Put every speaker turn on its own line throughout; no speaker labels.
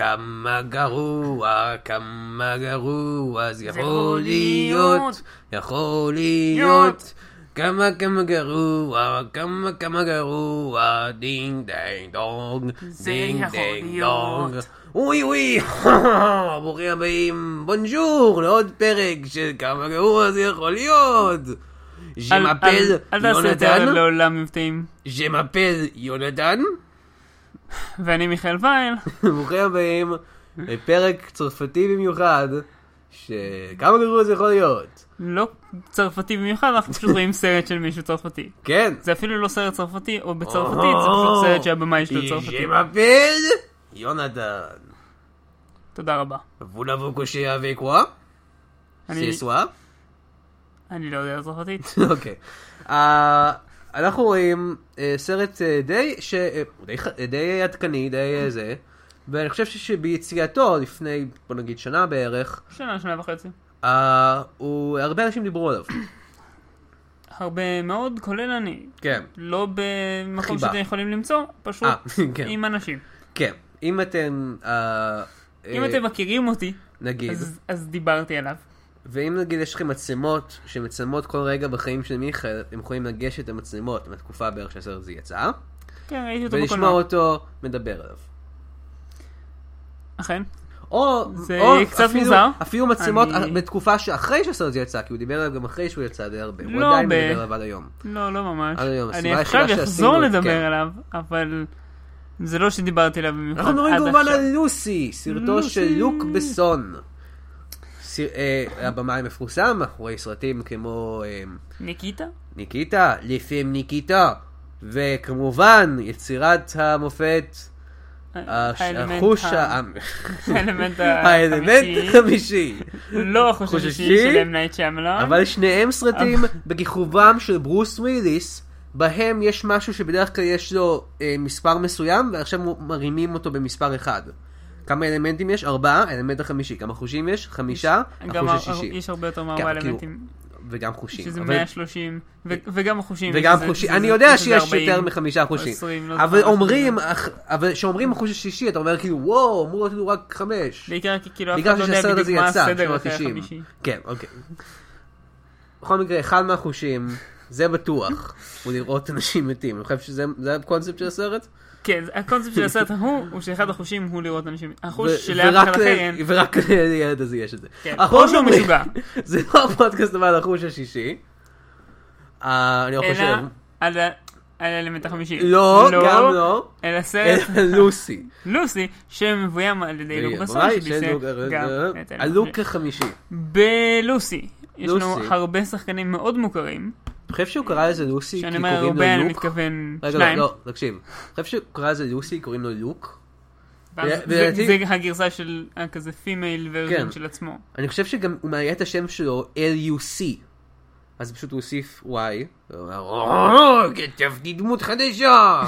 כמה גרוע, כמה גרוע, זה יכול
יכול
להיות,
להיות.
יכול להיות. כמה כמה גרוע, כמה כמה גרוע, דינג דינג דונג,
זה
דינג
יכול
דינג
להיות.
דונג. אוי אוי, ברוכים הבאים, בונג'ור, לעוד פרק של כמה גרוע זה יכול להיות.
אל-
ז'מפל
אל- אל תעשה את
יונתן,
זה לא. לעולם מבטאים.
ז'מפל יונתן.
ואני מיכאל וייל.
ברוכים הבאים לפרק צרפתי במיוחד, שכמה גרוע זה יכול להיות.
לא צרפתי במיוחד, אנחנו פשוט רואים סרט של מישהו צרפתי.
כן.
זה אפילו לא סרט צרפתי, או בצרפתית, זה פשוט סרט שהבמאי שלו צרפתי.
ז'מפל יונתן.
תודה רבה.
Vous l'avez couché avec quoi
אני-
C'est soir
אני לא יודע צרפתית.
אוקיי. אה, אנחנו רואים אה, סרט אה, די ש- אה, די ח- אה, די עדכני, די אה, זה, ואני חושב ש- שביציאתו לפני, בוא נגיד, שנה בערך,
שנה, שנה וחצי.
אה, הוא- הרבה אנשים דיברו עליו.
הרבה מאוד, כולל אני.
כן.
לא במקום
חיבה.
שאתם יכולים למצוא, פשוט
אה, כן.
עם אנשים.
כן. אם אתם... אה,
אם
אה, כן.
אתם מכירים אותי,
נגיד,
אז- אז דיברתי עליו.
ואם נגיד יש לכם מצלמות שמצלמות כל רגע בחיים של מיכאל, אתם יכולים לגשת למצלמות מהתקופה בערך שהסרט הזה יצא,
כן, ראיתי אותו
ולשמוע
בקולנוע.
אותו מדבר עליו.
אכן.
או,
זה
או
קצת
אפילו,
מוזר.
אפילו מצלמות
אני-
בתקופה שאחרי שהסרט הזה יצא, כי הוא דיבר עליו גם אחרי שהוא יצא די הרבה. הוא
לא
עדיין
ב-
מדבר עליו עד היום.
לא, לא ממש.
עד היום, אה, הסיבה
אני עכשיו
היחידה
אחזור
שעשינו, כן.
לדבר עליו, אבל זה לא שדיברתי עליו במיוחד
אנחנו מדברים
עד
כמובן
עכשיו.
על לוסי, סרטו
לוסי.
של לוק בסון. סיר- אה, הבמאי המפורסם, מאחורי סרטים כמו אה,
ניקיטה?
ניקיטה, לפעמים ניקיטה, וכמובן יצירת המופת, הש-
האלמנט
החוש,
ה-
ה-
האלמנט
אה, האלמנט
החמישי.
החמישי.
לא החוש
החוש
השישי
השישי?
של M. Night Shyamalan.
אבל שניהם סרטים בכיכובם של ברוס וויליס, בהם יש משהו שבדרך כלל יש לו אה, מספר מסוים, ועכשיו מו- מרימים אותו במספר אחד. כמה אלמנטים יש? ארבעה, אלמנט החמישי. כמה חושים יש? חמישה,
גם
החוש
הר-
השישי.
יש הרבה יותר
כאילו,
מארבע אלמנטים,
וגם חושים.
שזה
אבל- אה,
130, ו- וגם החושים.
וגם
שזה-
חושים.
שזה-
אני יודע
שזה
שיש
40.
יותר מחמישה חושים.
20, לא
אבל
זוכר,
אומרים,
משהו
אך- אבל כשאומרים החוש השישי, אתה אומר כאילו, וואו, אמור להיות לנו רק חמש.
בעיקר כי כאילו אף אחד
בגלל
לא יודע
שהסרט הזה
בדיוק מה
יצא, כאילו,
הסדר
בשנות
אחרי החמישי.
ה-90. כן, אוקיי. בכל מקרה, אחד מהחושים, זה בטוח, הוא לראות אנשים מתים. אני חושב שזה זה הקונספט של הסרט?
כן, זה- הקונספט של הסרט ההוא, הוא שאחד החושים הוא לראות אנשים. החוש
ו-
שלאף
ורק אה,
אחד
ל-
אחר אין.
ורק לילד הזה יש את זה.
כן,
אנחנו לא
או שהוא
מדברים-
משוגע.
זה לא הפודקאסט אבל החוש השישי. אה, אני לא
אלא
חושב.
על ה- על האלמנט החמישי.
לא, גם לא.
אלא סרט
אלא לוסי.
לוסי, שמבוים על ידי לוק בסון,
הבמאי של
שביסר
לוק-
גם
אה,
את
הלוק
האלמנט
החמישי.
בלוסי. יש לנו
לוסי.
הרבה שחקנים מאוד מוכרים.
אני חושב שהוא קרא לזה לוסי כי
כשאני אומר
קוראים
הרבה,
לו
אני
לוק.
מתכוון
רגע, לא,
שניים.
לא, תקשיב. אני חושב שהוא קרא לזה לוסי, קוראים לו לוק.
ואז
ו-
זה-
ולדעתי-
זה הגרסה של אה, כזה פימייל
כן.
ורזון של עצמו.
אני חושב שגם הוא מעלה את השם שלו LUC. אז פשוט הוא הוסיף Y. הוא אומר, "או, כתבתי דמות חדשה!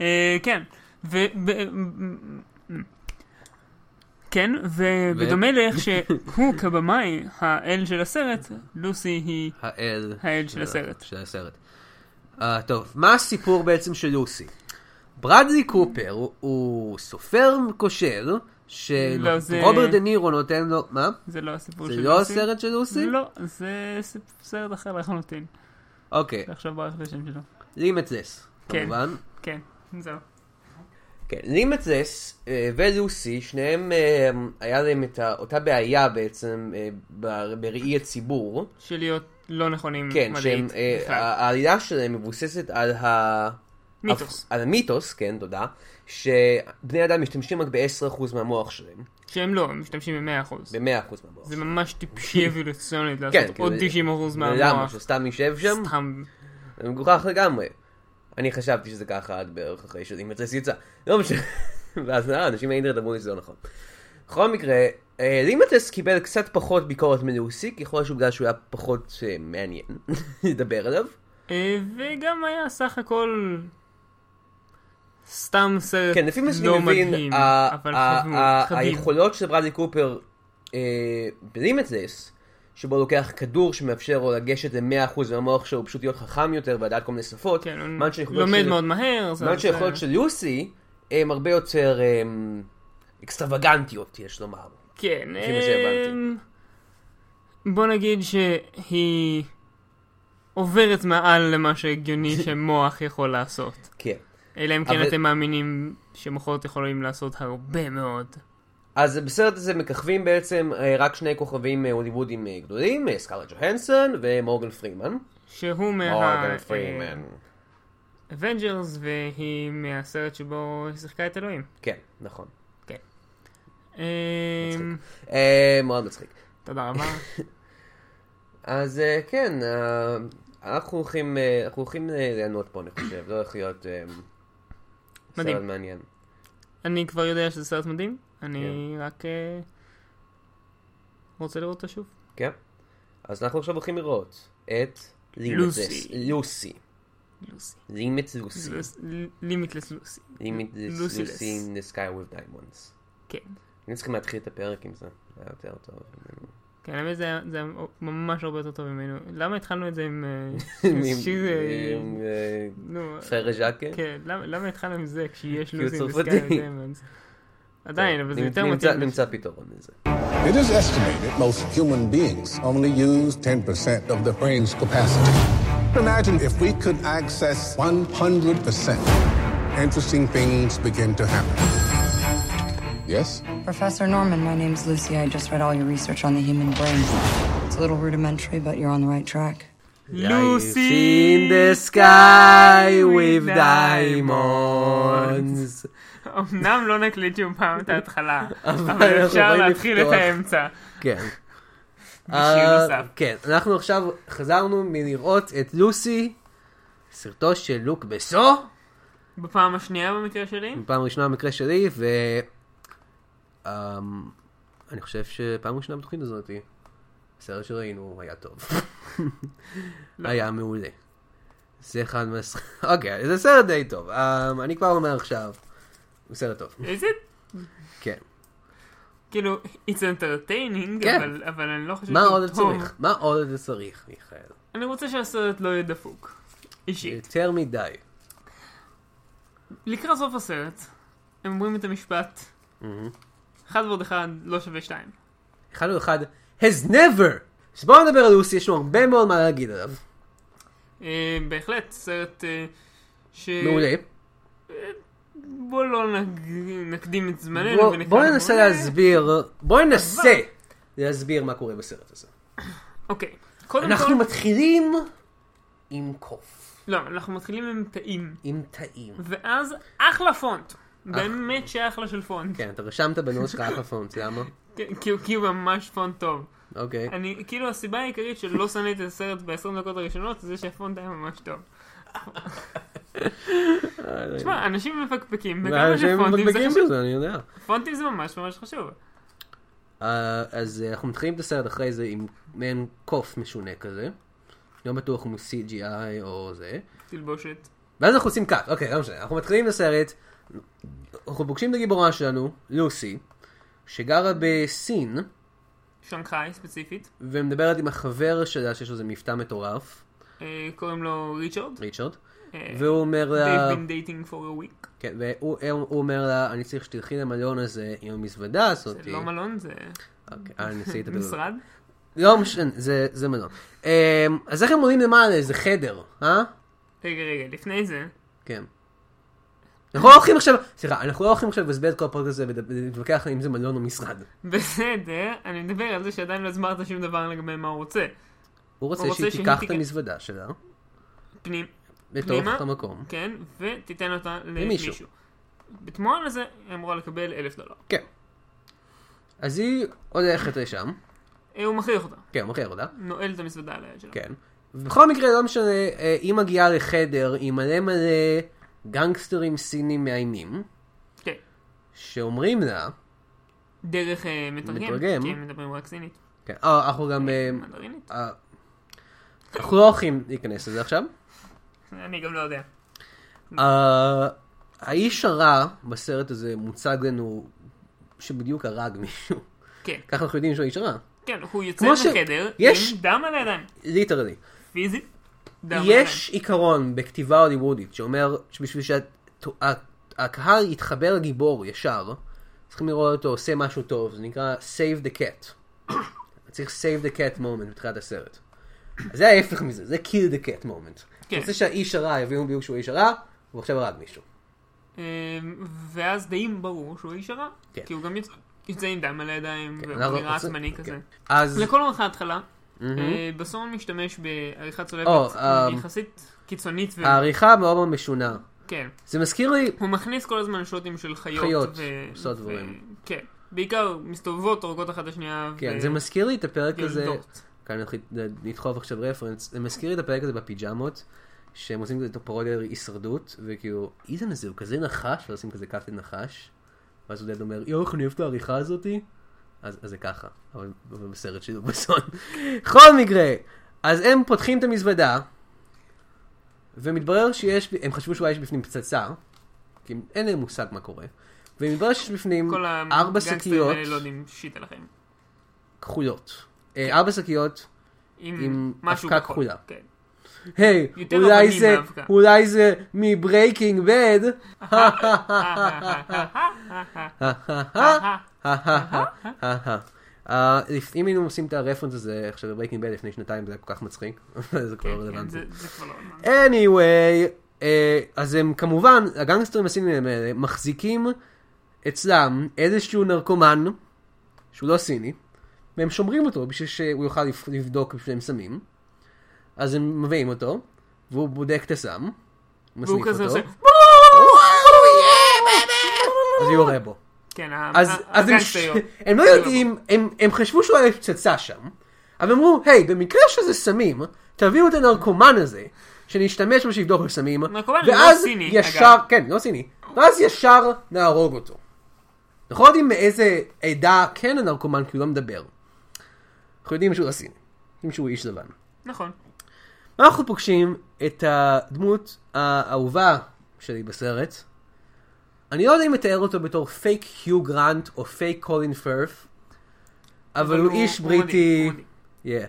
אה, כן. ו... ב- אה, כן, ובדומה לאיך שהוא כבמאי, האל של הסרט, לוסי היא...
האל.
האל של הסרט.
של הסרט. אה, טוב, מה הסיפור בעצם של לוסי? ברדלי קופר הוא- הוא סופר כושל,
לא, זה-
שרוברט דה נירו נותן לו, מה?
זה לא הסיפור
זה
של לוסי.
לא הסרט של לוסי?
לא, זה ס- סרט אחר לחלוטין.
אוקיי,
עכשיו ברח לי השם שלו.
לימצס,
כן.
כמובן.
כן, זהו.
כן, לימצס אה, ולוסי, שניהם אה, היה להם את ה- אותה בעיה בעצם אה, בר- בראי הציבור.
של להיות לא נכונים
כן, שהם,
מדעית.
אה,
בכלל.
העלילה שלהם מבוססת על ה...
מיתוס.
על המיתוס, כן, תודה, שבני אדם משתמשים רק ב-10% מהמוח שלהם,
שהם לא, הם משתמשים ב-100%.
ב-100% מהמוח.
זה ממש טיפשי אבולוציונית
כן,
לעשות
כן,
עוד
זה-
90%
למה?
מהמוח.
שסתם יישב שם?
סתם.
זה מגוחך לגמרי. אני חשבתי שזה ככה עד בערך אחרי שלימצס יצא. לא משנה. ואז אה, אנשים מהאינטרנט אמרו לי שזה לא נכון. בכל מקרה, אה, לימצס קיבל קצת פחות ביקורת מלוסי, ככל שהוא בגלל שהוא היה פחות אה, מעניין לדבר עליו.
אה, וגם היה סך הכל סתם סרט
כן, לפי מה שאני
לא
מבין,
מדהים,
ה-
אבל
ה-
חביב,
ה-
חביב.
היכולות של ברדלי קופר אה, בלימטלס, שבו הוא לוקח כדור שמאפשר לו לגשת ל-100% מהמוח שלו, פשוט להיות חכם יותר ולדעת כל מיני שפות,
כן,
זמן
הוא
שהיכולות
לומד
של-
מאוד מהר. זה-
זמן
זה-
שהיכולות של לוסי הם הרבה יותר, הם, אמ, אקסטרווגנטיות, יש לומר.
כן,
לפי מה שהבנתי.
אמ, בוא נגיד שהיא עוברת מעל למה שהגיוני שמוח יכול לעשות.
כן.
אלא אם כן
אבל-
אתם מאמינים שמוחות יכולים לעשות הרבה מאוד.
אז בסרט הזה מככבים בעצם אה, רק שני כוכבים אה, הוליוודים אה, גדולים, אה, סקארלט ג'והנסון ומורגן פרימן.
שהוא מה...
מורגן פרימן.
אבנג'רס, והיא מהסרט שבו היא שיחקה את אלוהים.
כן, נכון.
אמ,
אה, מאוד מצחיק.
תודה רבה.
אז אה, כן, אה, אנחנו הולכים, אה, אנחנו הולכים אה, ליהנות פה, אני חושב. זה הולך להיות אה,
מדהים.
סרט מעניין.
אני כבר יודע שזה סרט מדהים,
כן.
אני רק אה, רוצה לראות אותו שוב.
כן? אז אנחנו עכשיו הולכים לראות את
לוסי.
Limitless- לוסי.
לוסי.
לימט לוסי.
לימיטלס לוסי.
לימט
לוסי
לוסי in the sky with diamonds.
כן.
היינו צריכים להתחיל את הפרק עם זה. היה יותר טוב.
כן, האמת זה היה- זה היה ממש הרבה יותר טוב ממנו. למה התחלנו את זה עם... אה,
עם-
שיר, אה,
עם אה,
נו,
פררה ז'קה?
כן, למה למה התחלנו עם זה כשיש
כי הוא
לוזים
צרפתי.
וסקאי ודיימונס? עדיין, אבל זה
נמצ-
יותר
נמצא-
מתאים.
נמצא פתרון לזה.
It is estimated most human beings only use 10% of their brain's capacity. Imagine if we could access 100%. Interesting things begin to happen. Yes?
Professor Norman, my name's Lucy. I just read all your research on the human brain. It's a little rudimentary, but you're on the right track.
in the sky with diamonds.
אמנם לא נקליט שום פעם את ההתחלה,
אנחנו
אבל אפשר
יכולים
להתחיל את
לפתוח.
האמצע.
כן.
בשיר
אה,
נוסף.
כן, אנחנו עכשיו חזרנו מלראות את לוסי, סרטו של לוק בסו,
בפעם השנייה במקרה שלי,
פעם ראשונה במקרה שלי, ו... אמ, אני חושב שפעם ראשונה בתוכנית הזאת, הסרט שראינו היה טוב.
לא.
היה מעולה. זה אחד מה... אוקיי, זה סרט די טוב. אמ, אני כבר אומר עכשיו, הוא סרט טוב.
איזה...
כן.
כאילו, it's entertaining,
כן.
אבל- אבל אני לא חושב
מה עוד
שהוא טוב.
צריך? מה עוד צריך, מיכאל?
אני רוצה שהסרט לא יהיה דפוק. אישית.
יותר מדי. אה.
לקראת סוף הסרט, הם אומרים את המשפט, אחד ועוד אחד לא שווה שתיים.
אחד הוא אחד, has never! אז בואו נדבר על לוסי, יש לנו הרבה מאוד מה להגיד עליו.
אה, בהחלט, סרט אה, ש...
מעולה.
בוא לא נג- נקדים את זמננו.
בואו
ונקרא
בואו
לו
ננסה
מעולה.
להסביר, בואו ננסה להסביר מה קורה בסרט הזה.
אוקיי. קודם
אנחנו
כל...
מתחילים עם קוף,
לא, אנחנו מתחילים עם תאים.
עם תאים.
ואז אחלה פונט. באמת שאחלה של פונט.
כן, אתה רשמת בנוס שלך אחלה פונט, למה?
כן, כי הוא- כי הוא ממש פונט טוב.
אוקיי.
אני, כאילו הסיבה העיקרית שלא שנאתי את הסרט ב-20 דקות הראשונות זה שהפונט היה ממש טוב. תשמע, אנשים מפקפקים, וכמה
אנשים
שפונטים זה
מבקבקים
חשוב.
בזה, אני יודע.
פונטים זה ממש ממש חשוב.
אה, אז אה, אנחנו מתחילים את הסרט אחרי זה עם מעין קוף משונה כזה. לא בטוח אם הוא CGI או זה.
תלבושת.
ואז אנחנו עושים קאט, אוקיי, לא משנה, אנחנו מתחילים את הסרט, אנחנו פוגשים את הגיבורה שלנו, לוסי, שגרה בסין,
שנגחאי ספציפית.
ומדברת עם החבר שלה שיש לו איזה מבטא מטורף,
אה, קוראים לו ריצ'רד.
ריצ'רד,
אה,
והוא אומר לה,
They've been dating for a week.
כן, והוא הוא אומר לה, אני צריך שתלכי למלון הזה עם המזוודה הזאת.
זה לא מלון, זה
אוקיי, אה, אני ניסיתי את
משרד.
לא משנה, זה- זה מלון. אמ, אז איך הם עולים למעלה, זה חדר, אה?
רגע, רגע, לפני זה.
כן. אנחנו לא הולכים עכשיו, סליחה, אנחנו לא הולכים עכשיו לבזבז את כל הפרק הזה ולהתווכח אם זה מלון או משרד.
בסדר, אני מדבר על זה שעדיין לא הסברת שום דבר לגבי מה הוא רוצה.
הוא רוצה
הוא רוצה
שהיא
שהיא
תיקח את
תיקח-
המזוודה שלה,
פנים,
לתוך
פנימה?
המקום.
כן, ותיתן אותה
למישהו.
למישהו. בתמורה לזה, היא אמורה לקבל אלף דולר.
כן. אז היא הולכת לשם,
אה, הוא מכריח אותה,
כן, מוכר אותה,
נועל את המזוודה על היד שלה.
כן. ובכל מקרה, לא משנה, אה, היא מגיעה לחדר עם מלא מלא גנגסטרים סינים מאיימים,
כן.
שאומרים לה,
דרך אה, מתרגם,
מתרגם.
כי הם מדברים רק סינית.
כן, אה, אנחנו גם, אה,
מנדרינית?
אה, אנחנו לא הולכים להיכנס לזה עכשיו.
אני גם לא יודע.
אה, האיש הרע בסרט הזה מוצג לנו שבדיוק הרג מישהו.
כן,
ככה אנחנו יודעים שהוא האיש הרע,
כן, הוא יוצא
כמו ש-
מהחדר
יש-
עם דם על הידיים.
ליטרלי.
פיזית, דם על הידיים.
יש עיקרון בכתיבה הוליוודית שאומר שבשביל שהקהל יתחבר לגיבור ישר, צריכים לראות אותו עושה משהו טוב, זה נקרא Save the Cat. אתה צריך Save the Cat moment בתחילת הסרט. אז זה ההפך מזה, זה Kill the Cat moment.
כן.
אתה רוצה שהאיש הרע יבינו בדיוק שהוא איש הרע, הוא עכשיו הרג מישהו.
אמ, ואז דעים ברור שהוא איש הרע.
כן.
כי הוא גם יצא- יצא עם דם על הידיים,
אנחנו
והוא נראה
רוצים-
עצמני
כן.
כזה.
אז...
לכל אורך ההתחלה, אה, בסון משתמש בעריכה צולבת
או, אמ, אה,
יחסית קיצונית. ו-
העריכה מאוד מאוד משונה.
כן.
זה מזכיר לי,
הוא מכניס כל הזמן שוטים של חיות.
חיות,
ו-
עושות
ו-
דברים.
כן. בעיקר מסתובבות, הורגות אחת את השנייה.
כן,
ו-
זה מזכיר לי את הפרק הזה,
יולדות.
כאן נתחיל- נדחוף עכשיו רפרנס, זה מזכיר לי את הפרק הזה בפיג'מות, שהם עושים כזה את הפרודיה להישרדות, וכאילו, איתן הזה הוא כזה נחש, ועושים כזה קפטן נחש, ואז עודד אומר, יואו, איך אני אוהב את העריכה הזאתי, אז אז זה ככה, אבל אבל בסרט שלו בסון. בכל מקרה, אז הם פותחים את המזוודה, ומתברר שיש, הם חשבו שאולי יש בפנים פצצה, כי הם- אין להם מושג מה קורה. ומתברר שיש בפנים
כל
ארבע
הגנגסטרים
שקיות
האלה לא יודעים שיט עליכם.
כחולות. אה, ארבע שקיות, עם
עם משהו
אבקה
כחול.
כחולה.
כן.
היי,
יותר
אולי
אבנים
זה,
מאבקה.
אולי זה מברייקינג בד. אה, אם היינו עושים את הרפרנס הזה עכשיו בברייקינג בד לפני שנתיים זה היה כל כך מצחיק, אבל זה כבר לא
כן, כן,
רלוונטי.
זה זה כבר לא... רלוונטי.
anyway, אה, אז הם כמובן, הגנגסטרים הסינים האלה מחזיקים אצלם איזשהו נרקומן, שהוא לא סיני, והם שומרים אותו בשביל שהוא יוכל לבח- לבדוק בשביל הם סמים, אז הם מביאים אותו, והוא בודק את הסם,
והוא
מסניף
כזה
אותו,
עושה...
אז הוא יורה בו.
כן,
אז, אז הם, ש...
הגנגסטריות.
הם לא יודעים, הם, הם חשבו שהוא היה פצצה שם, אבל אמרו, היי, במקרה שזה סמים, תביאו את הנרקומן הזה, שנשתמש בו שיבדוק בסמים,
נרקומן לא
ואז
סיני,
ישר,
אגב.
כן, לא סיני, ואז ישר נהרוג אותו. אנחנו לא יודעים מאיזה עדה כן הנרקומן, כי הוא לא מדבר. אנחנו יודעים שהוא לא סיני, יודעים שהוא איש לבן.
נכון.
אנחנו פוגשים את הדמות האהובה שלי בסרט. אני לא יודע אם לתאר אותו בתור פייק היו גרנט או פייק קולין פרף, אבל הוא איש
מדהים,
בריטי.
הוא מדהים.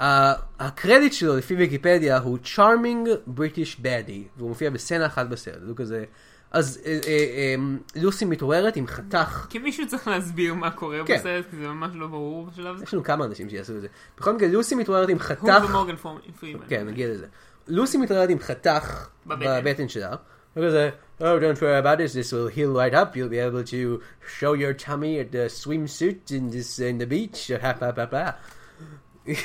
Yeah. ה- הקרדיט שלו לפי ויקיפדיה הוא Charming British Baddie, והוא מופיע בסצנה אחת בסרט, הוא כזה... אז אה, אה, אה, לוסי מתעוררת עם חתך
כי מישהו צריך להסביר מה קורה
כן.
בסרט, כי זה ממש לא ברור בשלב הזה.
יש לנו כמה אנשים שיעשו את זה. בכל מקרה, לוסי מתעוררת עם
הוא
חתך
ומורגן פורמן- פרימן.
כן, נגיע לזה. לוסי מתרדת עם חתך
בבטן.
בבטן שלה. וכזה, Oh, don't worry about this, this will heal right up, you'll be able to show your tummy at the swimsuit in this, in the beach, ha ha ha ha.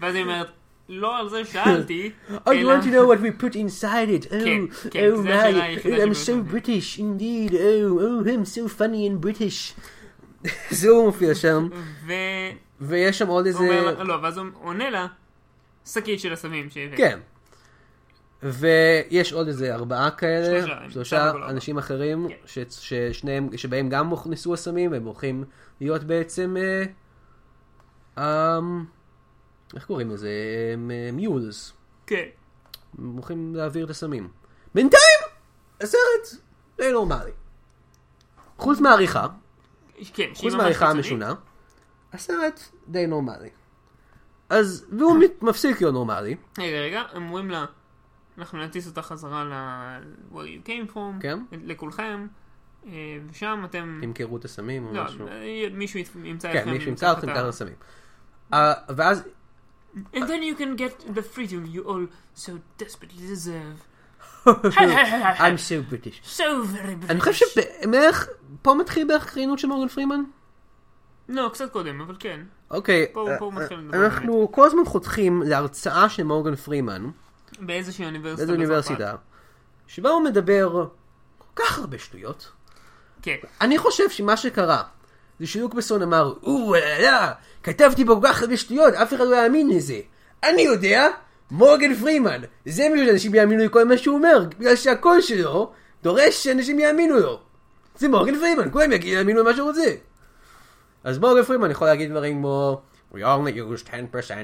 ואז היא אומרת, לא על זה שאלתי,
Oh, you
אלא-
want to know what we put inside it? Oh,
כן, כן,
oh
זה
my,
השאלה היחידה
I'm so
שבאמת-
British indeed, oh, oh, I'm so funny and British. זה הוא מופיע שם,
Mm. והוא
ויש שם עוד איזה...
אומר לה, לא, ואז הוא עונה לה, שקית של הסמים שהבאת.
כן. ויש עוד איזה ארבעה כאלה,
שלושה, בסך הכל
שלושה
ארבע.
אנשים אחרים,
כן.
ש, ששניהם, שבהם גם הוכנסו הסמים, והם הולכים להיות בעצם, אה, אמ, איך קוראים לזה? מיולס.
כן.
הם הולכים להעביר את הסמים. בינתיים, הסרט די נורמלי. חוץ מהעריכה,
כן, שהיא
חוץ
ממש
מהעריכה
קיצונית.
המשונה, הסרט די נורמלי. אז, והוא מת- מפסיק להיות נורמלי,
רגע, רגע, הם אומרים לה, אנחנו נטיס אותה חזרה ל... where you came from,
כן.
לכולכם, אה, ושם אתם...
ימכרו את הסמים או
לא,
משהו.
אה, מישהו ית- ימצא אתכם.
כן, מי שימצא אותך מתחת לסמים. אה, ואז,
And then you can get the freedom you all so desperately deserve.
I'm so British.
So very British.
אני חושב שבערך, פה מתחיל בערך קרינות של מורגן פרימן?
לא, קצת קודם, אבל כן.
אוקיי,
פה הוא- פה הוא
אה, אה,
מתחיל לדבר באמת.
אנחנו כל הזמן חותכים להרצאה של מורגן פרימן,
באיזושהי אוניברסיטה.
באיזו
בצרפת.
אוניברסיטה, שבה הוא מדבר כל כך הרבה שטויות.
כן.
אני חושב שמה שקרה, זה שיוקבסון אמר, אוהלה, כתבתי בו כל כך הרבה שטויות, אף אחד לא יאמין לזה. אני יודע, מורגן פרימן. זה מישהו שאנשים יאמינו לכל מה שהוא אומר, בגלל שהקול שלו דורש שאנשים יאמינו לו. זה מורגן פרימן, כולם יגיד- יאמינו למה שהוא רוצה. אז מורגן פרימן יכול להגיד דברים כמו, We only use 10%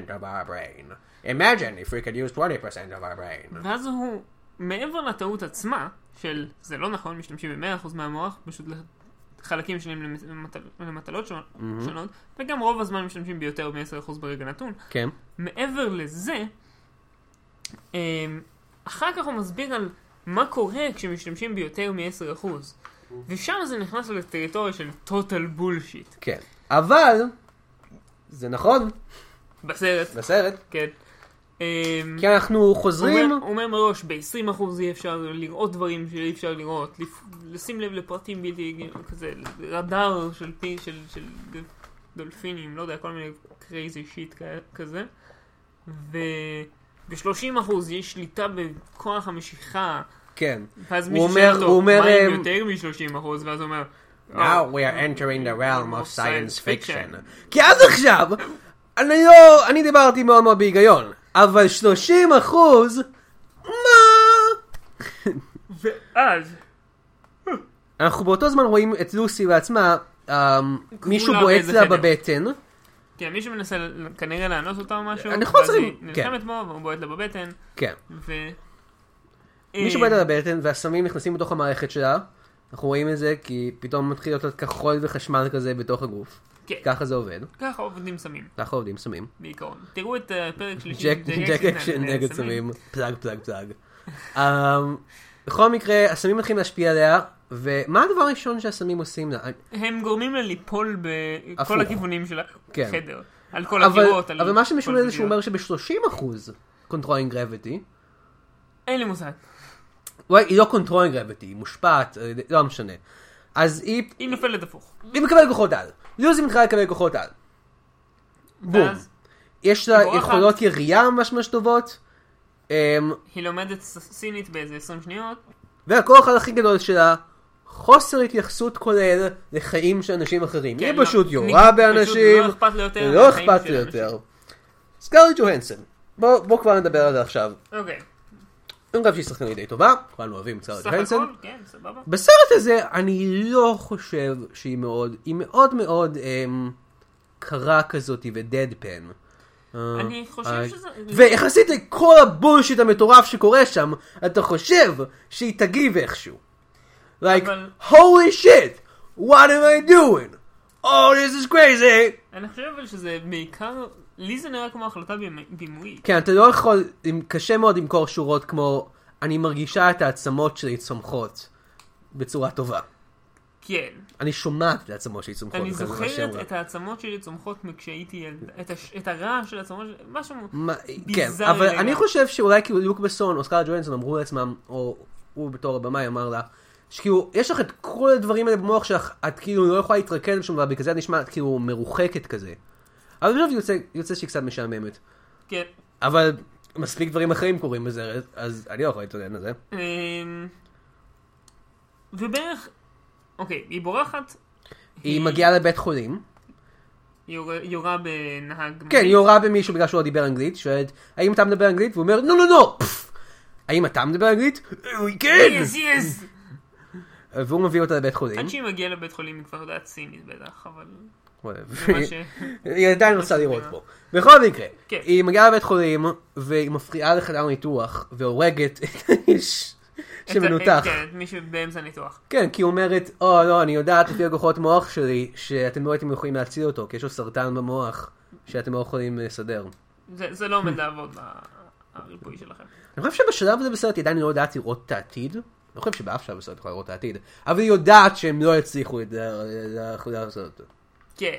of our brain. Imagine if we could use 20% of our brain.
ואז הוא, מעבר לטעות עצמה, של זה לא נכון, משתמשים ב-100% מהמוח, פשוט לחלקים שונים למט- למט- למטלות שונות, שונות, וגם רוב הזמן משתמשים ביותר מ-10% ברגע נתון.
כן,
מעבר לזה, אמ, אחר כך הוא מסביר על מה קורה כשמשתמשים ביותר מ-10%. ושם זה נכנס לטריטוריה של total bullshit.
כן. אבל, זה נכון,
בסרט,
בסרט,
כן. אמ,
כי אנחנו
הוא
חוזרים...
אומר- הוא אומר מראש, ב-20% יהיה אפשר לראות דברים שאי אפשר לראות, לפ... לשים לב לפרטים בלתי, כזה, רדאר של, פי, של, של ד- דולפינים, לא יודע, כל מיני קרייזי שיט כ- כזה. וב-30% יש שליטה בכוח המשיכה,
כן.
ואז
הוא
מישהו
אומר-
שואל
הוא
אותו,
אומר,
מה עם
אמ,
יותר מ-30%, ואז הוא אומר,
Now
"Oh,
we are entering the realm of
of
science
science
fiction.
fiction.
כי עד עכשיו, אני לא, אני דיברתי מאוד מאוד בהיגיון, אבל 30 אחוז, מה?
ואז,
אנחנו באותו זמן רואים את לוסי בעצמה, אמ, מישהו
כבולה
בועט
באיזה
לה
חדר.
בבטן,
כן, מישהו מנסה ל- כנראה לאנוס אותה או משהו,
אנחנו לא
ואז היא
צריכים- כן.
נלחמת בו, והוא בועט לה בבטן,
כן,
ו... אה.
מישהו בועט לה בבטן והסמים נכנסים לתוך המערכת שלה, אנחנו רואים את זה כי פתאום מתחיל להיות לה כחול וחשמל כזה בתוך הגוף,
כן.
ככה זה עובד,
ככה עובדים סמים,
ככה עובדים סמים,
בעיקרון. תראו את אה, פרק שלישי.
ג'ק
של
ג'ק אקשן נגד סמים, פלאג פלאג פלאג. אמ, בכל מקרה, הסמים מתחילים להשפיע עליה, ומה הדבר הראשון שהסמים עושים לה?
הם גורמים לה ליפול בכל
הפוך.
הכיוונים של
כן.
החדר. על כל
אבל-
הקירות. על
אבל מה
כל
שמשונה זה שהוא
הקירות.
אומר שב-30% קונטרולינג גרביטי,
אין לי מושג.
היא לא קונטרולינג גרביטי, היא מושפעת, על ידי- לא משנה. אז היא
היא נופלת הפוך.
היא מקבלת כוחות על. לוזי מתחילה לקבל כוחות על. בום.
ואז
יש לה
היא בורחת.
יכולות ירייה ממש ממש טובות. אמ,
היא לומדת ס- סינית באיזה 20 שניות.
והכוח הכי גדול שלה, חוסר התייחסות כולל לחיים של אנשים אחרים.
כן,
היא
לא-
פשוט
היא
יורה
פשוט
באנשים,
לא אכפת לה יותר
לא
מהחיים
אכפת
של
לי
אנשים.
יותר. סקארלט ג'והנסון, בוא בוא כבר נדבר על זה עכשיו.
אוקיי.
אני חושב שהיא שחקנית די טובה, כולנו אוהבים את סקארלט
סך
ג'והנסון.
הכל, כן, סבבה.
בסרט הזה אני לא חושב שהיא מאוד, היא מאוד מאוד אמ, קרה כזאת ודדפן.
אני חושב שזה...
אה, ויחסית לכל הבולשיט המטורף שקורה שם, אתה חושב שהיא תגיב איכשהו. Like,
אבל-
holy shit, what am I doing? Oh, this is crazy.
אני חושב אבל שזה בעיקר... לי זה נראה כמו החלטה בימ- בימויית.
כן, אתה לא יכול, עם- קשה מאוד למכור שורות כמו, אני מרגישה את העצמות שלי צומחות בצורה טובה.
כן.
אני שומעת את העצמות שלי צומחות.
אני
זה מה שהיא אמרה.
זוכרת את העצמות שלי צומחות מכשהייתי ילד, את, הש... את הרעש של העצמות שלי, משהו...
מה- כן,
ביזארי
אבל
לגמרי.
אני חושב שאולי כאילו לוק בסון או סקארלט ג'והנסון אמרו לעצמם, או הוא בתור הבמאי אמר לה, שכאילו, יש לך את כל הדברים האלה במוח שלך, את כאילו לא יכולה להתרכז בשום דבר, בגלל זה את נשמעת כאילו מרוחקת כזה. אבל בסוף יוצא, יוצא שהיא קצת משעממת.
כן.
אבל מספיק דברים אחרים קורים בזה, אז אני לא יכול להתלונן על זה.
אמ, ובערך, אוקיי, היא בורחת,
היא מגיעה לבית חולים,
היא יורה- יורה בנהג.
כן, היא
מונית.
יורה במישהו בגלל שהוא לא דיבר אנגלית, שואלת, האם אתה מדבר אנגלית? והוא אומר, לא, לא, לא! פפפ." האם אתה מדבר אנגלית? "אה, כן!
יס, יס!
והוא מביא אותה לבית חולים.
עד שהיא מגיעה לבית חולים היא כבר יודעת סינית בטח, אבל...
whatever.
מה ש-
היא עדיין רוצה לראות בו. בכל מקרה,
כן.
היא מגיעה לבית חולים, והיא מפריעה לחדר ניתוח, והורגת את האיש
את-
שמנותח.
כן, את מי שבאמצע ניתוח.
כן, כי היא אומרת, או לא, אני יודעת לפי הכוחות מוח שלי, שאתם לא הייתם יכולים להציל אותו, כי יש לו סרטן במוח, שאתם לא יכולים לסדר.
זה זה לא עומד לעבוד, ה- הריפוי שלכם.
אני חושב שבשלב הזה בסרט היא עדיין לא יודעת לראות את העתיד. אני חושב שבאף שלב בסרט היא יכולה לראות את העתיד, אבל היא יודעת שהם לא יצליחו את זה, לעשות אותו.
כן,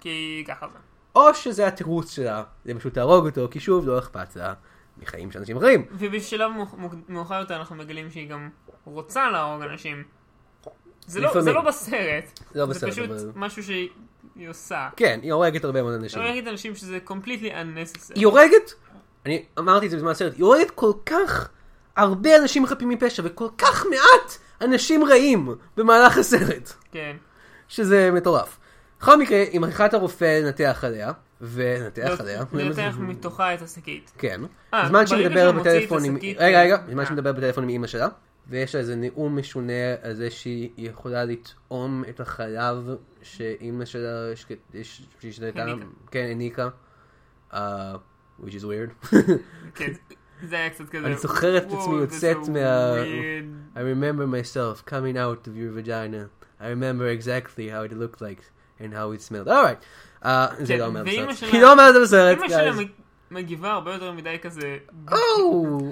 כי ככה זה.
או שזה התירוץ שלה, זה פשוט להרוג אותו, כי שוב, לא אכפת לה מחיים של אנשים אחרים.
ובשלב מאוח- מוק- מאוחר יותר אנחנו מגלים שהיא גם רוצה להרוג אנשים. זה לא,
לפעמים.
זה לא בסרט,
לא
זה
בסרט,
פשוט
אבל-
משהו שהיא עושה.
כן, היא הורגת הרבה מאוד אנשים.
אני אגיד אנשים שזה completely unnecessary.
היא הורגת, אני אמרתי את זה בזמן הסרט, היא הורגת כל כך הרבה אנשים חפים מפשע וכל כך מעט אנשים רעים במהלך הסרט,
כן.
שזה מטורף. בכל מקרה, היא מכריחה את הרופא לנתח עליה,
לא,
ולנתח עליה.
לנתח מתוכה את השקית.
כן.
אה,
בזמן
ברגע
שהיא
שהוא
מדברת
מוציא את
בטלפון עם...
השקית,
רגע, רגע,
אה.
בזמן שהיא מדברת בטלפון עם אימא שלה, ויש לה איזה נאום משונה על זה שהיא יכולה לטעום את החלב שאימא שלה השק- הש- שהשתתה,
הניקה.
כן, הניקה. אה, which is weird.
כן. זה היה קצת כזה.
אני זוכר את עצמי
"וואו,
יוצאת
זה so
מה-
weird."
I remember myself coming out of your vagina. I remember exactly how it looked like and how it smelled. Alright. אה, זה
כן,
לא אומר
ואימא
בסרט.
שלה-
היא לא אומרת בסרט,
אמא שלה
guys.
מג- מגיבה הרבה יותר מדי כזה.
Oh,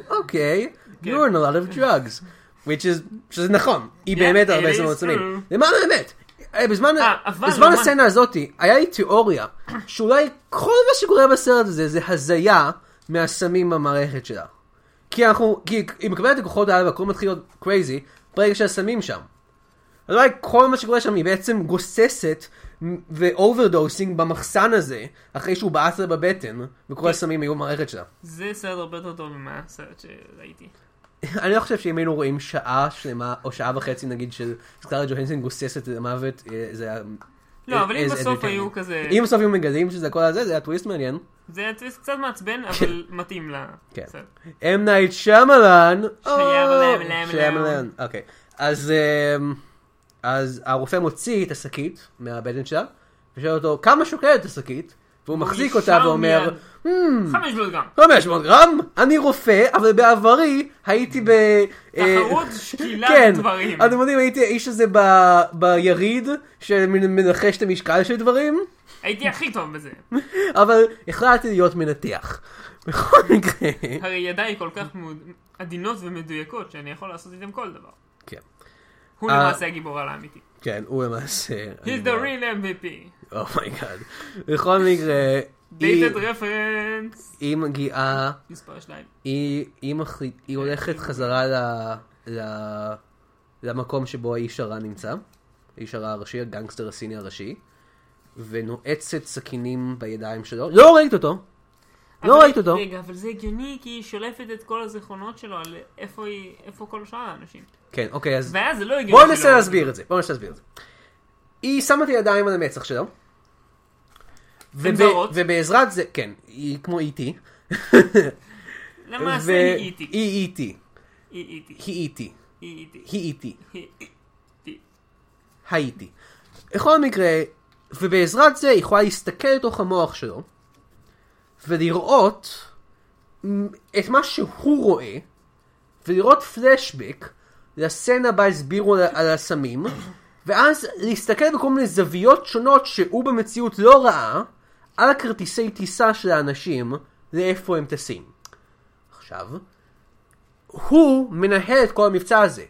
okay.
כן.
You're on a lot of drugs. which is, שזה נכון, היא
Yeah,
באמת
it
הרבה
is
סצנות
true.
עצומים. למען האמת, אה, בזמן,
אה, אבל
בזמן
לעומת-
הסצנה הזאתי, היה לי תיאוריה, שאולי כל מה שקורה בסרט הזה זה הזיה מהסמים במערכת שלה. כי אנחנו, כי היא מקבלת את הכוחות האלה והכל מתחיל להיות קרייזי, ברגע שהסמים שם. אז אולי כל מה שקורה שם היא בעצם גוססת ואוברדוסינג במחסן הזה, אחרי שהוא בעט לה בבטן,
כן.
וכל הסמים היו במערכת שלה.
זה סרט הרבה יותר טוב ממה הסרט שראיתי.
אני לא חושב שאם היינו רואים שעה שלמה, או שעה וחצי נגיד, של סקארה ג'והנסון גוססת למוות, אה, זה היה... אה,
לא, אבל אם
as
בסוף
entertaining.
היו כזה...
אם בסוף היו מגלים שזה הכל הזה, זה היה טוויסט מעניין.
זה היה טוויסט קצת מעצבן, אבל
כן.
מתאים לסרט.
אם נייט שמלן.
שמלן,
שמלן. אוקיי. Oh, אז אמ, אז הרופא מוציא את השקית מהבטן שלה, ושואל אותו כמה שוקלת השקית, והוא מחזיק
ישר
אותה ואומר, "Hmm,
מיד. חמש מאות גרם.
500 גרם, אני רופא, אבל בעברי הייתי ב... אה, כן.
תחרות שקילת דברים.
אתם יודעים, הייתי האיש הזה ב... ביריד, שמנחש את המשקל של דברים,
הייתי הכי טוב בזה.
אבל החלטתי להיות מנתח. בכל מקרה...
הרי ידיי כל כך מאוד- עדינות ומדויקות, שאני יכול לעשות איתם כל דבר.
כן,
הוא
אה. לא-
למעשה הגיבור על האמיתי.
כן, הוא למעשה...
He's the real MVP.
אומייגאד. בכל מקרה, היא-
Dated reference.
היא מגיעה,
מספר שניים.
היא- היא מחליט- היא הולכת חזרה ל- ל- למקום שבו האיש הרע נמצא, האיש הרע הראשי, הגנגסטר הסיני הראשי, ונועצת סכינים בידיים שלו. לא ראית אותו! לא
אבל-
ראית אותו!
רגע, אבל זה הגיוני, כי היא שולפת את כל הזיכרונות שלו על איפה היא, איפה כל שאר האנשים.
כן, אוקיי, אז
ואז זה לא הגיוני.
בואו
שלא-
ננסה להסביר את זה. בואו ננסה להסביר את זה. היא שמה את הידיים על המצח שלו. וב-
זרות.
ובעזרת זה, כן, היא כמו איטי.
למעשה היא איטי.
היא איטי.
היא איטי.
היא איטי.
היא איטי.
היא E איטי.
היא איטי.
הייתי. בכל מקרה, ובעזרת זה היא יכולה להסתכל לתוך המוח שלו, ולראות מ- את מה שהוא רואה, ולראות פלשבק לסצנה בה הסבירו על, על הסמים, ואז להסתכל בכל מיני זוויות שונות שהוא במציאות לא ראה, על הכרטיסי טיסה של האנשים, לאיפה הם טסים. עכשיו, הוא מנהל את כל המבצע הזה.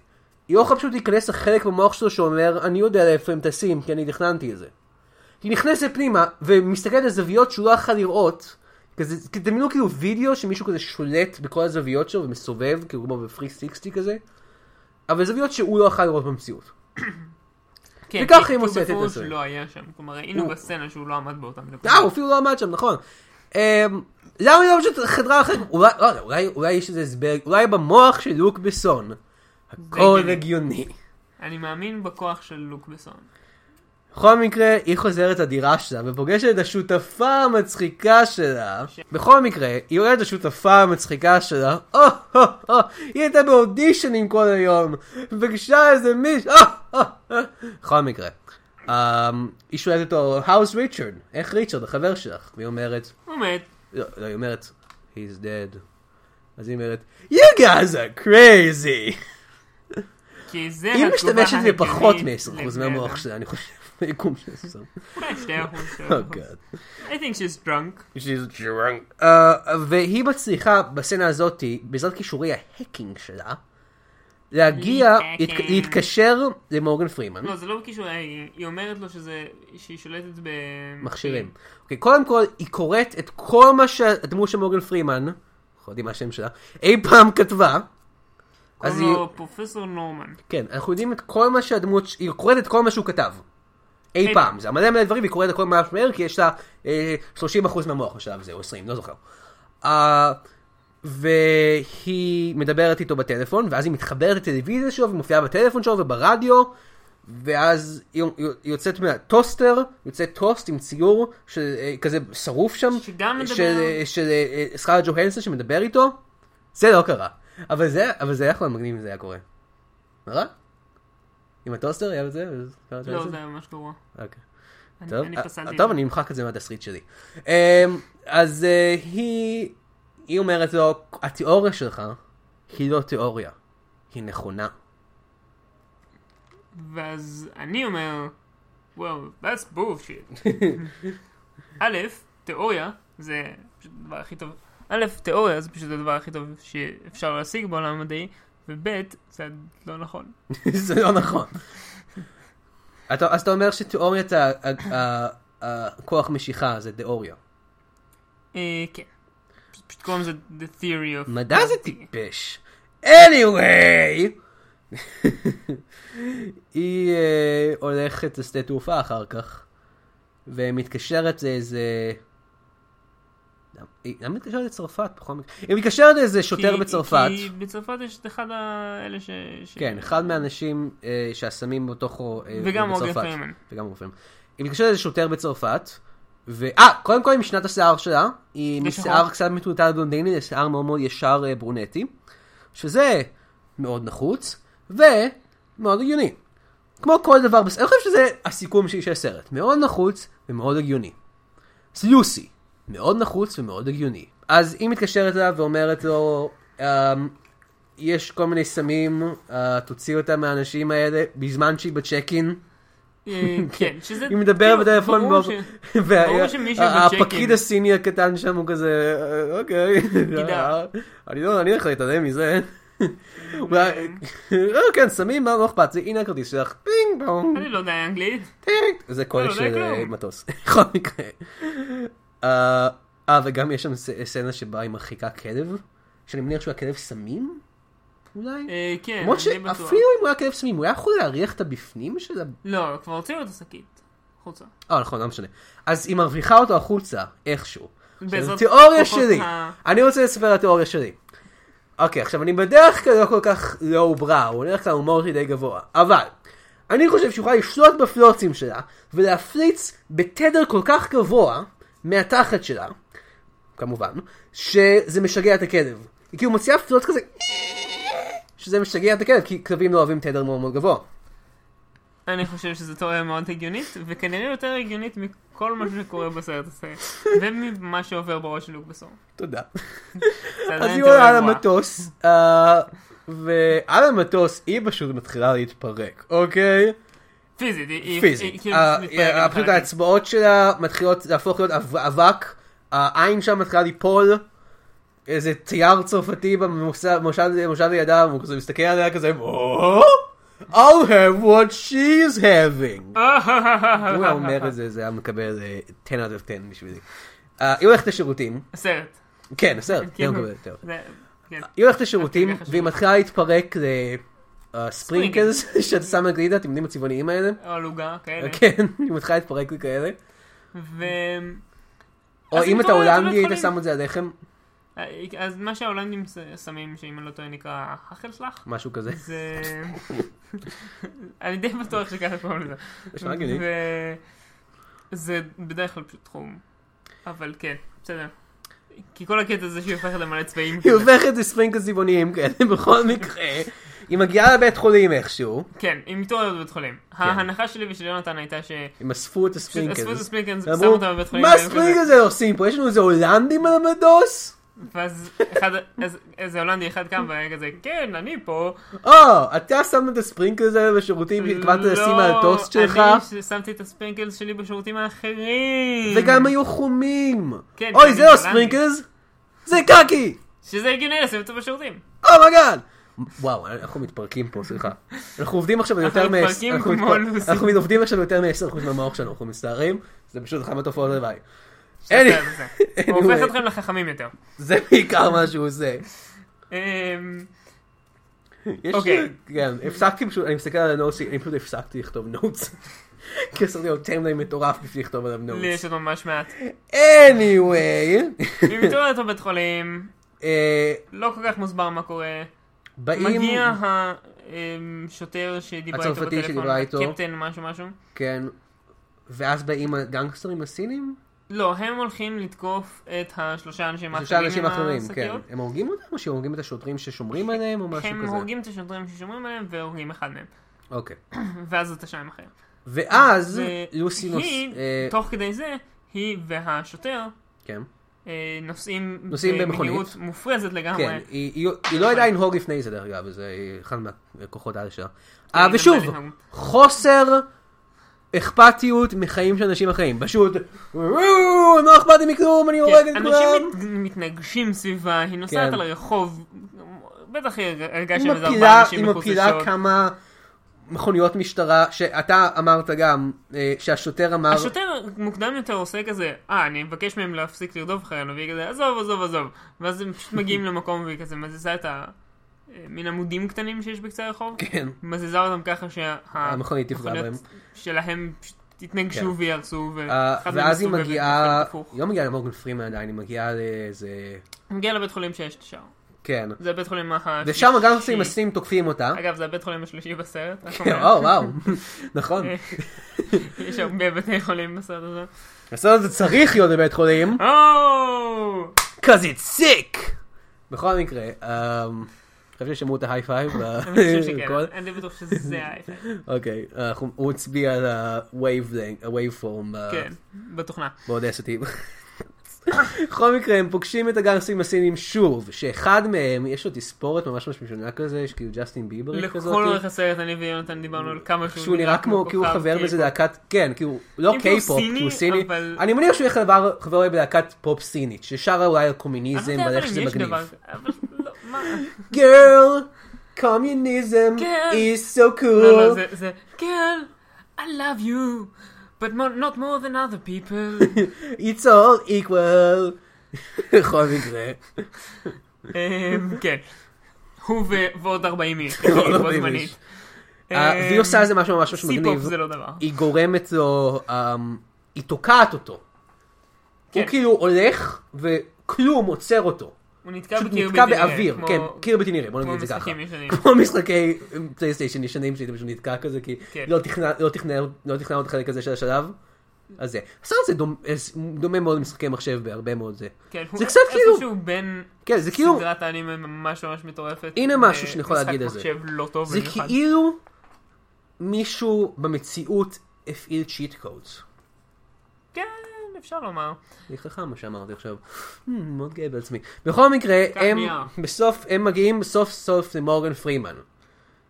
היא לא יכולה פשוט להיכנס לחלק במוח שלו שאומר, אני יודע לאיפה הם טסים, כי אני תכננתי את זה. היא נכנסת פנימה, ומסתכלת על זוויות שהוא לא יכול לראות, כזה, כזה- תדמיינו כאילו וידאו שמישהו כזה שולט בכל הזוויות שלו ומסובב, כאילו כמו בפרי סיקסטי כזה, אבל זוויות שהוא לא יכול לראות במציאות.
כן,
וככה
כי-
היא
כי הוא
מוצאת את
בפירוש
זה.
לא היה שם. כלומר, ראינו
הוא-
בסצנה שהוא לא עמד באותם
אה, הוא
נקודות.
אפילו לא עמד שם, נכון. אמ, למה היא לא פשוט חדרה אחרת? אולי, לא יודע, אולי, אולי יש איזה הסבר, אולי במוח של לוק בסון. הכל
הגיוני.
הגיוני.
אני מאמין בכוח של לוק בסון.
בכל מקרה, היא חוזרת לדירה שלה ופוגשת את השותפה המצחיקה שלה. בכל מקרה, היא רואה את השותפה המצחיקה שלה. או, או, או, היא הייתה באודישנים כל היום. פגשה איזה מישהו. או, או, או. בכל מקרה, אמ, היא שואלת אותו, How's ריצ'רד? איך ריצ'רד, החבר שלך? והיא אומרת,
הוא מת.
לא, לא, היא אומרת, He's dead. אז היא אומרת, You guys are crazy.
כי זה
היא
התגובה אה,
משתמשת
ההגיונית
בפחות מ-10%
לבני
מהמוח
אדם.
שלה, אני חושב, ביקום של 10%.
אולי 2%,
Oh god.
3%. I think she's drunk.
She's drunk. Uh, והיא מצליחה בסצנה הזאתי, בעזרת כישורי ההקינג שלה, להגיע,
להתהקינג.
להת- להתקשר למורגן פרימן.
לא, זה לא בקישור, היא היא אומרת לו שזה, שהיא שולטת ב...
מכשירים. אוקיי, קודם כל, היא קוראת את כל מה שהדמות של מורגן פרימן, אנחנו לא יודעים מה השם שלה, אי פעם כתבה. אז
קוראים
היא,
לו פרופסור נורמן.
כן, אנחנו יודעים את כל מה שהדמות, היא קוראת את כל מה שהוא כתב. אי
אי
פעם,
פעם.
זה מלא מלא דברים, והיא קוראת את הכל ממש מהר, כי יש לה אה, 30% מהמוח בשלב הזה, או 20, לא זוכר. אה, והיא מדברת איתו בטלפון, ואז היא מתחברת לטלוויזיה שלו, והיא מופיעה בטלפון שלו וברדיו, ואז היא היא יוצאת מהטוסטר, יוצא טוסט עם ציור של, אה, כזה שרוף שם,
שגם מדבר.
של, אה, של אה, אה, סקארלט ג'והנסון שמדבר איתו, זה לא קרה. אבל זה, אבל זה היה יכול להיות מגניב אם זה היה קורה. נראה? עם הטוסטר היה את זה? סקארלט
לא,
ג'והנסון?
זה היה ממש גרוע.
אוקיי.
אני-
טוב,
אני
אה,
פסלתי את
טוב,
זה.
אני אמחק את זה מהתסריט שלי. אמ, אז אה, היא היא אומרת לו, התיאוריה שלך היא לא תיאוריה, היא נכונה.
ואז אני אומר, well, that's bullshit. א', תיאוריה, זה פשוט הדבר הכי טוב. א', תיאוריה זה פשוט הדבר הכי טוב שאפשר להשיג בעולם המדעי, וב' זה לא נכון.
זה לא נכון. אתה, אז אתה אומר שתיאוריית ה- ה- ה- הכוח משיכה זה תיאוריה.
אה, כן. פשוט- פשוט קוראים לזה The Theory of...
מדע זה
Gravity.
טיפש. anyway! היא אה, הולכת לשדה תעופה אחר כך, ומתקשרת לאיזה... היא למה מתקשרת לצרפת בכל מקרה? היא מתקשרת לאיזה שוטר
כי-
בצרפת.
כי בצרפת יש את אחד האלה ש... ש-
כן, אחד מהאנשים אה, שהסמים בתוכו אה,
וגם
הוא
אורגן
בצרפת.
פרימן.
וגם אורגן פרימן. היא מתקשרת לאיזה שוטר בצרפת, ו... אה, קודם כל עם שנת השיער שלה, היא
לשחור.
משיער קצת מטולטל בלונדיני לשיער מאוד מאוד ישר אה, ברונטי, שזה מאוד נחוץ, ומאוד הגיוני. כמו כל דבר, בס- אני חושב שזה הסיכום שלי של הסרט. מאוד נחוץ ומאוד הגיוני. אז לוסי, מאוד נחוץ ומאוד הגיוני. אז היא מתקשרת אליו ואומרת לו, אמ, יש כל מיני סמים, אה, תוציא אותם מהאנשים האלה, בזמן שהיא בצ'קין.
אה, כן, שזה...
היא מדברת
כאילו,
בטלפון,
ברור
ב-
ש-
וה-
ברור שמי
ה-
שבצ'קין-
הפקיד הסיני הקטן שם הוא כזה, "אה, אוקיי,
גידה.
אני לא, אני הולך להתעלם מזה. הוא היה, "אה, כן, סמים, מה, לא אכפת לי, הנה הכרטיס שלך, פינג פונג.
אני לא יודע אנגלית.
טינג. זה קול
לא, לא
של
כלום.
אה, מטוס. בכל מקרה. אה, אה, וגם יש שם ס- סצנה שבה היא מרחיקה כלב, שאני מניח שהוא היה כלב סמים? אולי?
אה, כן,
למרות
אני בטוח.
שאפילו אם הוא היה כלב סמים, הוא היה יכול להריח את הבפנים של ה...
לא, כבר הוציאו את השקית. חוצה.
אה, נכון, לא משנה. אז היא מרוויחה אותו החוצה, איכשהו.
בעזרת
עכשיו, תיאוריה
כוחות
שלי.
ה-
אני רוצה לספר על התיאוריה שלי. אוקיי, עכשיו אני בדרך כלל לא כל כך לואו בראו, בדרך כלל הומור שלי די גבוה, אבל אני חושב שהיא יכולה לשלוט בפלוצים שלה ולהפליץ בתדר כל כך גבוה מהתחת שלה, כמובן, שזה משגע את הכלב. היא כאילו מוציאה פלוץ כזה, שזה משגע את הכלב, כי כלבים לא אוהבים תדר מאוד מאוד גבוה.
אני חושב שזו תיאוריה מאוד הגיונית, וכנראה יותר הגיונית מכל מה שקורה בסרט הזה, וממה שעובר בראש של לוק בסור.
תודה.
זה
אז
עדיין
היא
תיאוריה
עולה על
גרועה.
המטוס, אה, ועל המטוס היא פשוט מתחילה להתפרק, אוקיי?
פיזית, היא- היא
פיזית.
היא כאילו
אה,
מתפרקת
אה, פשוט
לחלקים.
האצבעות שלה מתחילות להפוך להיות אב- אבק, העין שלה מתחילה ליפול, איזה צייר צרפתי במוסד- במושב במושב לידם, הוא כזה מסתכל עליה כזה, "או, I'll have what she's having. הוא היה אומר את זה, זה היה מקבל אה, 10 out of 10 בשבילי. אה, היא הולכת לשירותים,
הסרט.
כן, בסדר, היא
כאילו,
לא מקבלת יותר.
זה- כן.
היא הולכת לשירותים,
אוקיי, חשוב.
והיא מתחילה להתפרק לספרינקלס של סם הגלידה, אתם יודעים הצבעוניים האלה?
או עלוגה, כאלה.
כן, היא מתחילה להתפרק לכאלה.
ו...
או
אז
אם
אם
אתה
אתה הולך
הולנדי, היית
לבית
שם את זה על לחם,
אה, אז מה שההולנדים ש- שמים, שאם אני לא טועה נקרא האכלסלח,
משהו כזה.
זה... אני די בטוח שככה קוראים לזה.
זה נשמע הגיוני.
ו- זה בדרך כלל פשוט תחום. אבל כן, בסדר. כי כל הקטע זה שהיא הופכת למלא צבעים.
היא הופכת לספרינקלס צבעוניים כאלה בכל מקרה. היא מגיעה לבית חולים איכשהו,
כן, היא מתעוררת בבית חולים.
כן.
ההנחה שלי ושל יונתן הייתה ש...
הם אספו את
פשוט אספו את
הספרינקלס.
הספרינקלס, שמו
אמרו,
אותם בבית חולים.
מה
והם כזה-
הספרינקלס האלה עושים פה? יש לנו איזה הולנדים על המטוס?
ואז אחד, אז- איזה הולנדי אחד קם והיה כזה, כן, אני פה.
או, אתה שם את הספרינקלס האלה בשירותים והתכוונת לשים על הטוסט שלך?
לא, אני שמתי את הספרינקלס שלי בשירותים האחרים.
וגם היו חומים.
כן,
אוי,
כן,
זה לא
הולנדי.
ספרינקלס, זה קקי!
שזה הגיוני לשים אותו בשירותים.
אומייגאד! וואו, אנחנו מתפרקים פה, סליחה. אנחנו עובדים עכשיו על
אנחנו
יותר מ...
מתפרקים כמו לוסי.
אנחנו עובדים עכשיו יותר מ-10% מהמוח שלנו, אנחנו מצטערים, זה פשוט אחת מהתופעות הלוואי.
שזה-
Any-
זה. הוא הופך
anyway.
אתכם לחכמים יותר.
זה בעיקר מה שהוא עושה.
אמ,
יש-
אוקיי.
כן, הפסקתי פשוט, אני מסתכל על הנוטס, אני פשוט הפסקתי לכתוב נוטס. כי עשיתי יותר מדי מטורף בשביל לכתוב עליו
לי
נוטס.
יש עוד ממש מעט.
anyway,
היא מתעוררת בבית חולים,
אה,
לא כל כך מוסבר מה קורה.
באים,
מגיע השוטר שדיברה איתו
הצרפתי
בטלפון,
שדיברה איתו.
קפטן משהו משהו.
כן, ואז באים הגנגסטרים הסינים?
לא, הם הולכים לתקוף את השלושה האנשים
שלושה
האחרים
אנשים
עם
אחרים, כן.
השקיות.
הם הורגים אותם או שהם הורגים את השוטרים ששומרים עליהם או משהו
הם
כזה?
הורגים את השוטרים ששומרים עליהם והורגים אחד מהם.
אוקיי.
ואז אתה שם אחר.
ואז
ו-
לוסי נוס...
היא,
אה,
תוך כדי זה, היא והשוטר
כן.
אה, נוסעים
נוסעים במכונית.
במהירות מופרזת
כן,
לגמרי.
היא- היא היא לא ידעה לנהוג לפני זה דרך אגב, זה אחד מהכוחות העל שלה. אה, ושוב,
למדה לא לנהוג.
חוסר אכפתיות מחיים של אנשים אחרים. פשוט, "וואו, לא אכפת לי מכלום, אני הורג את
כן,
כולם.
אנשים מת- מתנגשים סביבה, היא נוסעת
כן.
על הרחוב, בטח היא הרגה
היא
שם איזה
מפילה-
ארבעה אנשים
היא
מחוץ
מפילה
לשעות.
כמה מכוניות משטרה, שאתה אמרת גם, אה, שהשוטר אמר,
השוטר מוקדם יותר עושה כזה, אה, אני מבקש מהם להפסיק לרדוף אחרינו, והיא כזה, עזוב, עזוב, עזוב. ואז הם פשוט מגיעים למקום והיא כזה מזיזה את ה... אה, מין עמודים קטנים שיש בקצה הרחוב.
כן,
מזיזה אותם ככה
המכונית
שהמכוניות
תפגע בהם.
שלהם פשוט
כן.
יתנגשו ויהרסו. ו-
אה,
אחד מהם
ואז היא
מסתובב
מגיעה,
ונופל הפוך.
היא לא מגיעה למורגן פרימן עדיין, היא מגיעה לאיזה,
היא מגיעה לבית חולים שיש שם.
כן,
זה הבית חולים החמישי.
ושם גם סימסים תוקפים אותה,
אגב, זה הבית חולים השלישי בסרט. רק
כן,
אומרת.
או וואו, נכון,
אה. יש הרבה בתי חולים בסרט הזה.
הסרט הזה צריך להיות בבית חולים,
או!
cause it's sick! בכל מקרה, אה, אני חושב ששמעו את ההיי-פייב,
אני חושב שכן,
והכל.
אני די בטוח שזה האייפון.
אוקיי, אנחנו- הוא הצביע על ה-wave
כן, בתוכנה.
באודסטי. בכל מקרה, הם פוגשים את הגנגסטרים הסינים שוב, שאחד מהם, יש לו תספורת ממש ממש משונה כזה, יש כאילו ג'סטין ביברי
לכל
כזאת, כאילו, אה,
אורך הסרט אני ויונתן דיברנו על כמה
שהוא נראה כמו, כאילו
כוכב
חבר
K-pop.
באיזה להקת, כן, כאילו, לא
אם כי הוא
קיי-פופ,
סיני,
כי הוא סיני,
אבל-
אני מניח שהוא יהיה חבר- חבר בלהקת פופ סינית, ששרה אולי על קומוניזם,
אני לא
ועל
יודע
איך
אבל
שזה
אם יש
מגניב.
דבר כזה, אבל לא, מה?
גרל, קומוניזם,
כן.
is so
לא, לא,
cool.
זה- זה, כן, I love you, but more- not more than other people.
It's all equal. בכל מקרה.
אמ, כן. הוא ו- ועוד 40 איש, כאילו,
ועוד 40
בו
איש.
זמנית.
אה, והיא עושה איזה משהו ממש ממש
סי-פופ
מגניב.
זה לא דבר.
היא גורמת לו, אמ, היא תוקעת אותו. הוא
כן.
כאילו הולך וכלום עוצר אותו.
הוא נתקע
פשוט
בקיר
נתקע
בלתי נראה,
באוויר,
כמו-
כן, קיר בלתי נראה, בוא
כמו
נגיד את זה ככה.
משחקים ישנים.
כמו משחקי פלייסטיישן ישנים שהיית פשוט נתקע כזה, כי
כן.
לא תכנן- לא תכנן לא תכנן עוד חלק כזה של השלב. אז זה. הסרט הזה דומ- אה, דומה מאוד למשחקי מחשב בהרבה מאוד זה.
כן,
זה
הוא
קצת כאילו-
איפשהו בין
כן, זה כאילו,
סדרת האנימה ממש ממש מטורפת.
הנה
ו-
משהו שאני יכול להגיד על זה.
משחק מחשב לא טוב
זה
במיוחד.
כאילו מישהו במציאות הפעיל צ'יט קודס.
כן, אפשר לומר.
אני חכם מה שאמרתי עכשיו. Hmm, מאוד גאה בעצמי. בכל מקרה,
קח
הם
נייר.
בסוף, הם מגיעים סוף סוף למורגן פרימן,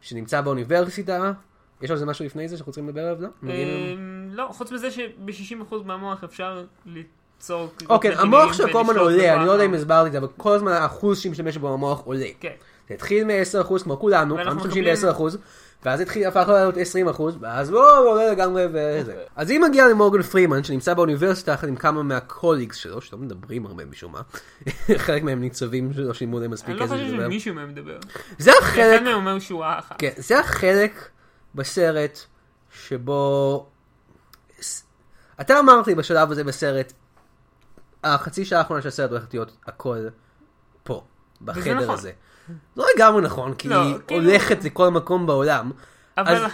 שנמצא באוניברסיטה. יש על זה משהו לפני זה שאנחנו צריכים לדבר עליו? לא? מגיעים עם-
אמ, לא, חוץ מזה שב-60% מהמוח אפשר ליצור...
או כן, המוח
כוחות מדיניים
שלו כל הזמן
ולשלוט
עולה, אני לא יודע אם
בכוח.
הסברתי את זה, אבל כל הזמן האחוז שמשתמש בו במוח עולה.
כן.
זה התחיל מ-10% כמו כולנו,
ואנחנו
כולם משתמשים
מקבלים-
ב-10%, ואז התחיל, הפך לעלות 20%, ואז וואו, הוא עולה לגמרי
אוקיי.
וזה. אז היא מגיעה למורגן פרימן, שנמצא באוניברסיטה יחד עם כמה מהקוליגס שלו, שלא מדברים הרבה משום מה, חלק מהם ניצבים שלא שילמו להם מספיק
אני לא
כסף
חושב
לדבר.
שמישהו מהם מדבר.
זה החלק,
אחד מהם אומר שורה אחת.
כן, זה החלק בסרט שבו... ס- אתה אמרת לי בשלב הזה בסרט, החצי שעה האחרונה של הסרט הולכת להיות הכל פה, בחדר
נכון.
הזה. לא לגמרי נכון, כי
לא,
היא
כאילו-
הולכת לכל מקום בעולם.
אבל
אז-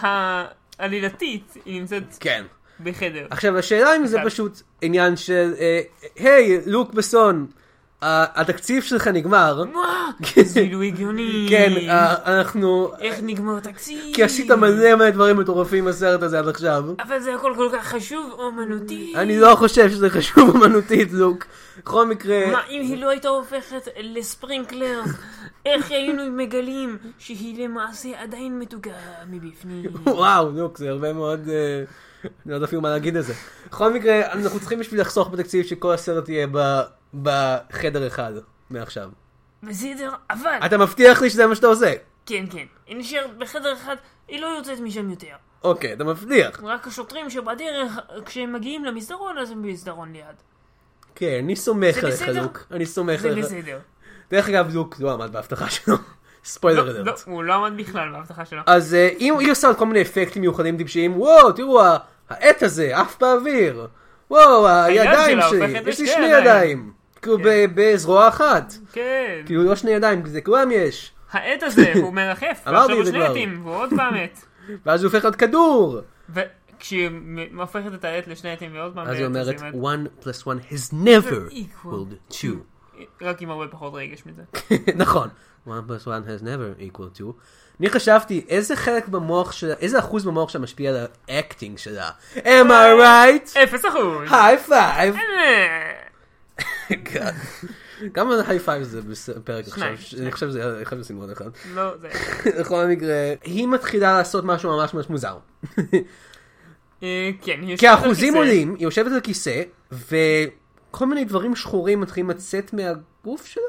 העלילתית היא נמצאת
כן.
בחדר.
עכשיו, השאלה אם זה
אחד.
פשוט עניין של, אה, היי, לוק בסון, ה- התקציב שלך נגמר.
מה?
כן.
זה לא הגיוני.
כן, אה, אנחנו...
איך נגמר תקציב?
כי עשית מלא מלא דברים מטורפים בסרט הזה עד עכשיו.
אבל זה הכל כל כך חשוב, אומנותי.
אני לא חושב שזה חשוב אמנותית, לוק. בכל מקרה,
מה, אם היא לא הייתה הופכת לספרינקלר, איך היינו מגלים שהיא למעשה עדיין מתוקה מבפנים?
וואו, לוק, זה הרבה מאוד... אה, אני לא יודע אפילו מה להגיד על זה. בכל מקרה, אנחנו צריכים בשביל לחסוך בתקציב שכל הסרט יהיה ב- בחדר אחד מעכשיו.
בסדר, אבל...
אתה מבטיח לי שזה מה שאתה עושה.
כן, כן. היא נשארת בחדר אחד, היא לא יוצאת משם יותר.
אוקיי, אתה מבטיח.
רק השוטרים שבדרך, כשהם מגיעים למסדרון, אז הם במסדרון ליד.
כן, אני סומך
זה
עליך,
בסדר?
לוק. אני סומך
זה
עליך.
בסדר.
דרך אגב, לוק לא עמד בהבטחה שלו. ספוילר
לא, לא,
אלרט.
הוא לא עמד בכלל בהבטחה שלו.
אז אה, אם היא עושה עוד כל מיני אפקטים מיוחדים טיפשיים, וואו, תראו, ה- העט הזה עף באוויר. וואו, הידיים
שלה
שלי,
הופכת
יש לי
לשתי
שני
ידיים.
ידיים. כאילו ב- בזרוע אחת.
כן.
כאילו לא שני ידיים, כי זה כולם יש.
העט הזה, הוא מרחף.
אמרתי את
ועכשיו הוא
זה
שני
כבר.
עטים, והוא עוד פעם עט.
ואז הוא הופך להיות כדור.
וכשהיא מ- הופכת את העט לשני עטים ועוד פעם...
אז
לעט,
היא אומרת,
היא
one plus one has never
Equal
equaled two.
רק עם הרבה פחות רגש מזה.
נכון. one plus one has never equaled two. אני חשבתי, איזה חלק במוח שלה, איזה אחוז במוח שלה משפיע על האקטינג שלה? am I right?
אפס אחוז.
high five.
אה,
God. כמה היי פייב זה בפרק
שניים,
עכשיו? אני חושב שזה אני חושב שעשינו עוד אחד.
לא, זה...
בכל מקרה, היא מתחילה לעשות משהו ממש ממש מוזר.
אה, כן, היא יושבת
כי
על
האחוזים
כיסא.
עולים, היא יושבת על כיסא, וכל מיני דברים שחורים מתחילים לצאת מהגוף שלה?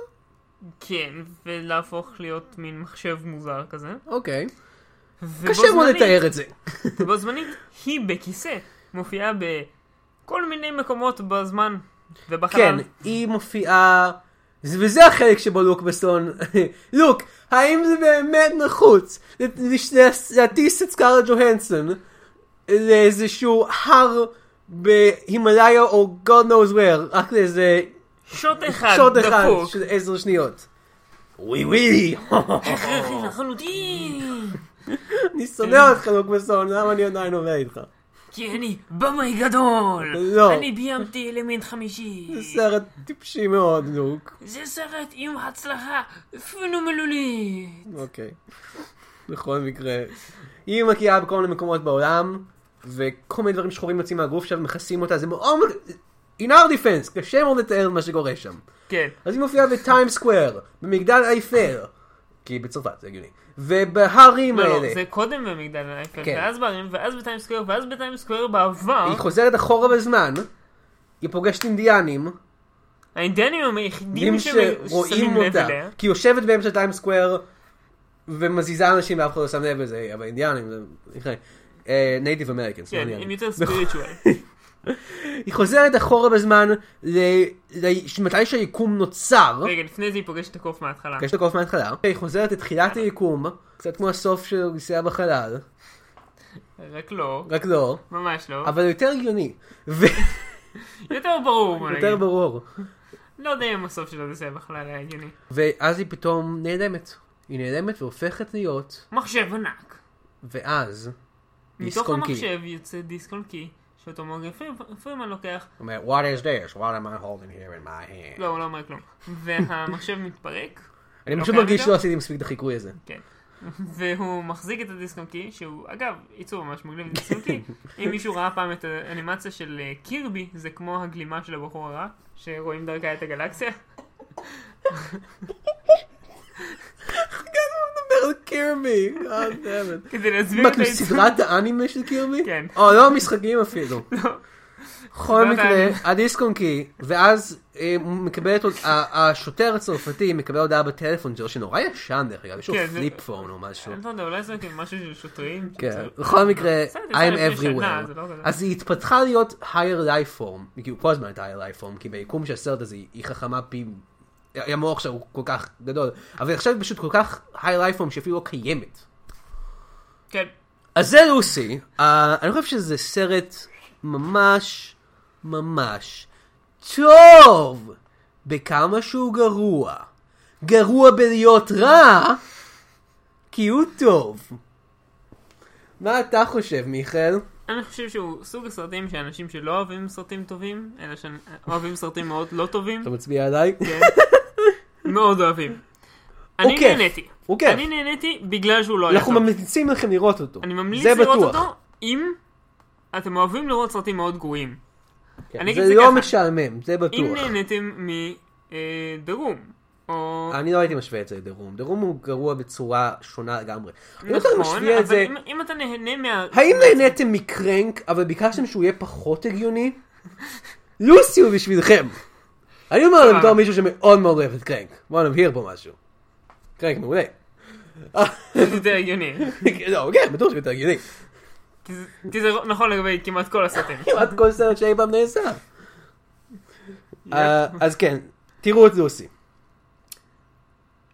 כן, ולהפוך להיות מין מחשב מוזר כזה.
אוקיי.
ובו
קשה מאוד
זמנית-
לתאר את זה.
ובו זמנית, היא בכיסא, מופיעה בכל מיני מקומות בזמן ובחלל.
כן, היא מופיעה... זה- וזה החלק שבו לוק בסון, לוק, האם זה באמת נחוץ לש- להס- להטיס את סקארלה ג'והנסון לאיזשהו הר בהימאליה או God knows where, רק לאיזה
שוט אחד,
שוט אחד
אה, דפוק.
של עשר שניות. ווי ווי,
הכרחי לחלוטין,
אני שונא אותך לוק בסון, למה אני עדיין עובד איתך?
כי אני במאי גדול.
לא.
אני ביימתי אלמנט חמישי.
זה סרט טיפשי מאוד, לוק.
זה סרט עם הצלחה פנומלולית.
אוקיי. בכל מקרה, היא מגיעה בכל מיני מקומות בעולם, וכל מיני דברים שחורים יוצאים מהגוף שלה ומכסים אותה, זה מאוד... In our defense, קשה מאוד לתאר מה שקורה שם.
כן.
אז היא מופיעה בטיים סקוואר, במגדל אייפל, כי בצרפת, זה הגיוני, ובהרים
לא,
האלה.
לא, זה קודם במגדל האייפל,
כן.
ואז בערים, ואז בטיים סקוויר, ואז בטיים סקוויר בעבר,
היא חוזרת אחורה בזמן, היא פוגשת אינדיאנים,
האינדיאנים הם היחידים
דים
ששמים
שרואים
לב
אותה,
אליה. כן,
כי היא יושבת באמצע טיים סקוואר ומזיזה אנשים ואף אחד לא שם לב לזה, אבל אינדיאנים זה... אה, נייטיב אמריקאנס,
כן, הם יותר
לא.
ספיריטואל.
היא חוזרת אחורה בזמן ל- ל- מתי שהיקום נוצר,
רגע, לפני זה היא פוגשת את הקוף מההתחלה.
יש לקוף מההתחלה, היא חוזרת לתחילת היקום, קצת כמו הסוף של נסיעה בחלל,
רק לא,
רק לא,
ממש לא.
אבל יותר הגיוני, ויותר
יותר ברור, בוא נגיד.
ברור,
לא יודע אם הסוף שלו זה בכלל היה הגיוני.
ואז היא פתאום נעלמת, היא נעלמת והופכת להיות,
מחשב ענק.
ואז,
מתוך
דיסק-און-קי.
המחשב יוצא דיסק און קי, שאותו מורגן פרימ- פרימן לוקח,
אומרת, what is this? what am I holding here in my hand?
לא, הוא לא אומר כלום. והמחשב מתפרק,
אני
לא
פשוט
קיים
מרגיש
יותר?
שלא עשיתי מספיק את החיקוי הזה.
כן. והוא מחזיק את הדיסק און קי, שהוא אגב, ייצור ממש מגניב דיסק און קי. אם מישהו ראה פעם את האנימציה של אה, קירבי, זה כמו הגלימה של הבחור הרע, שרואים דרכה את הגלקסיה.
מדבר על קירבי, God damn it.
כדי להסביר
מה,
את
כאילו
הייצור.
סדרת האנימה של קירבי?
כן. לא.
או לא המשחקים אפילו. בכל
סדרת
מקרה,
האנימה.
הדיסק און קי, ואז אה, הוא מקבל את הוד- ה- השוטר הצרפתי מקבל הודעה בטלפון שלו, שנורא ישן דרך אגב, יש לו
כן, זה-
פליפ פון או משהו.
אני לא יודע, אולי זה כאילו משהו של שוטרים.
כן,
שצריך-
בכל מקרה,
בסדר, זה היה
I'm
לפני שנה,
everywhere.
זה לא כזה.
אז היא התפתחה להיות higher life form, היא כאילו כל הזמן הייתה higher life form, כי ביקום של הסרט הזה היא- היא חכמה פי... המוח שלה הוא כל כך גדול, אבל עכשיו היא פשוט כל כך higher life form שאפילו לא קיימת.
כן.
אז זה לוסי, uh, אני חושב שזה סרט ממש ממש טוב בכמה שהוא גרוע. גרוע בלהיות רע, כי הוא טוב. מה אתה חושב, מיכאל?
אני חושב שהוא סוג הסרטים שאנשים שלא אוהבים סרטים טובים, אלא שאוהבים סרטים מאוד לא טובים,
אתה מצביע עליי?
כן. מאוד אוהבים. אני
הוא כיף.
נהניתי.
הוא כיף.
אני נהניתי בגלל שהוא לא היה
אנחנו
טוב.
ממליצים לכם לראות אותו.
אני ממליץ
זה
לראות
בטוח.
אותו אם אתם אוהבים לראות סרטים מאוד גרועים.
כן,
אני אגיד
זה
זה
לא
ככה.
משעמם, זה בטוח.
אם נהניתם מ-The Room, או...
אני לא הייתי משווה את זה לדרום. דרום הוא גרוע בצורה שונה לגמרי. אני לא יודע אם
נכון,
משווה את
אבל
זה...
אם- אם אתה נהנה מה...
האם נהניתם מקרנק, אבל ביקשתם שהוא יהיה פחות הגיוני? לוסי הוא בשבילכם. אני אומר לכם בתור מישהו שמאוד מאוד אוהב את קרנק. בואו נבהיר פה משהו. קרנק מעולה.
זה יותר הגיוני.
לא, כן, בטוח שהוא יותר הגיוני.
כי זה- כי זה נכון לגבי כמעט כל הסרטים.
כמעט כל סרט שאי פעם נעשה. אה, אז כן, תראו את לוסי.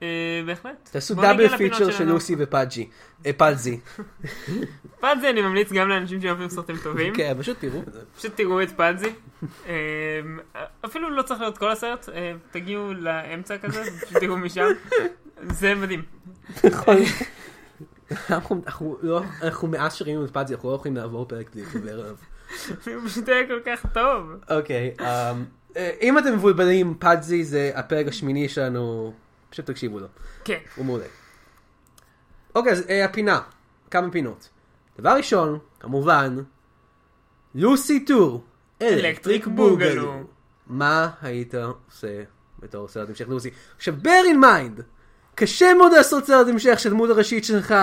אה, בהחלט.
תעשו
בוא נגיע
דאבל
לפינות
פיצ'ר של
שלנו.
לוסי ופאג'י. אה, פלזי.
פאדזי אני ממליץ גם לאנשים שאוהבים סרטים טובים.
כן, פשוט תראו את זה.
פשוט תראו את פאדזי. אמ, אפילו לא צריך להיות כל הסרט, אה, תגיעו לאמצע כזה, פשוט תראו משם. זה מדהים. נכון.
אנחנו- אנחנו לא- אנחנו מאז שראינו את פאג'י, אנחנו לא יכולים לעבור פרק בלי לדבר עליו.
הוא פשוט היה כל כך טוב.
אוקיי, אמ, אה, אם אתם מבולבלים, פאדזי זה הפרק השמיני שלנו, פשוט תקשיבו לו,
כן.
הוא מעולה. אוקיי, אז אה, הפינה, כמה פינות. דבר ראשון, כמובן, לוסי טור, אלקטריק בוגלו. מה היית עושה בתור סרט המשך לוסי? עכשיו, bear in mind, קשה מאוד לעשות סרט המשך של דמות הראשית שלך,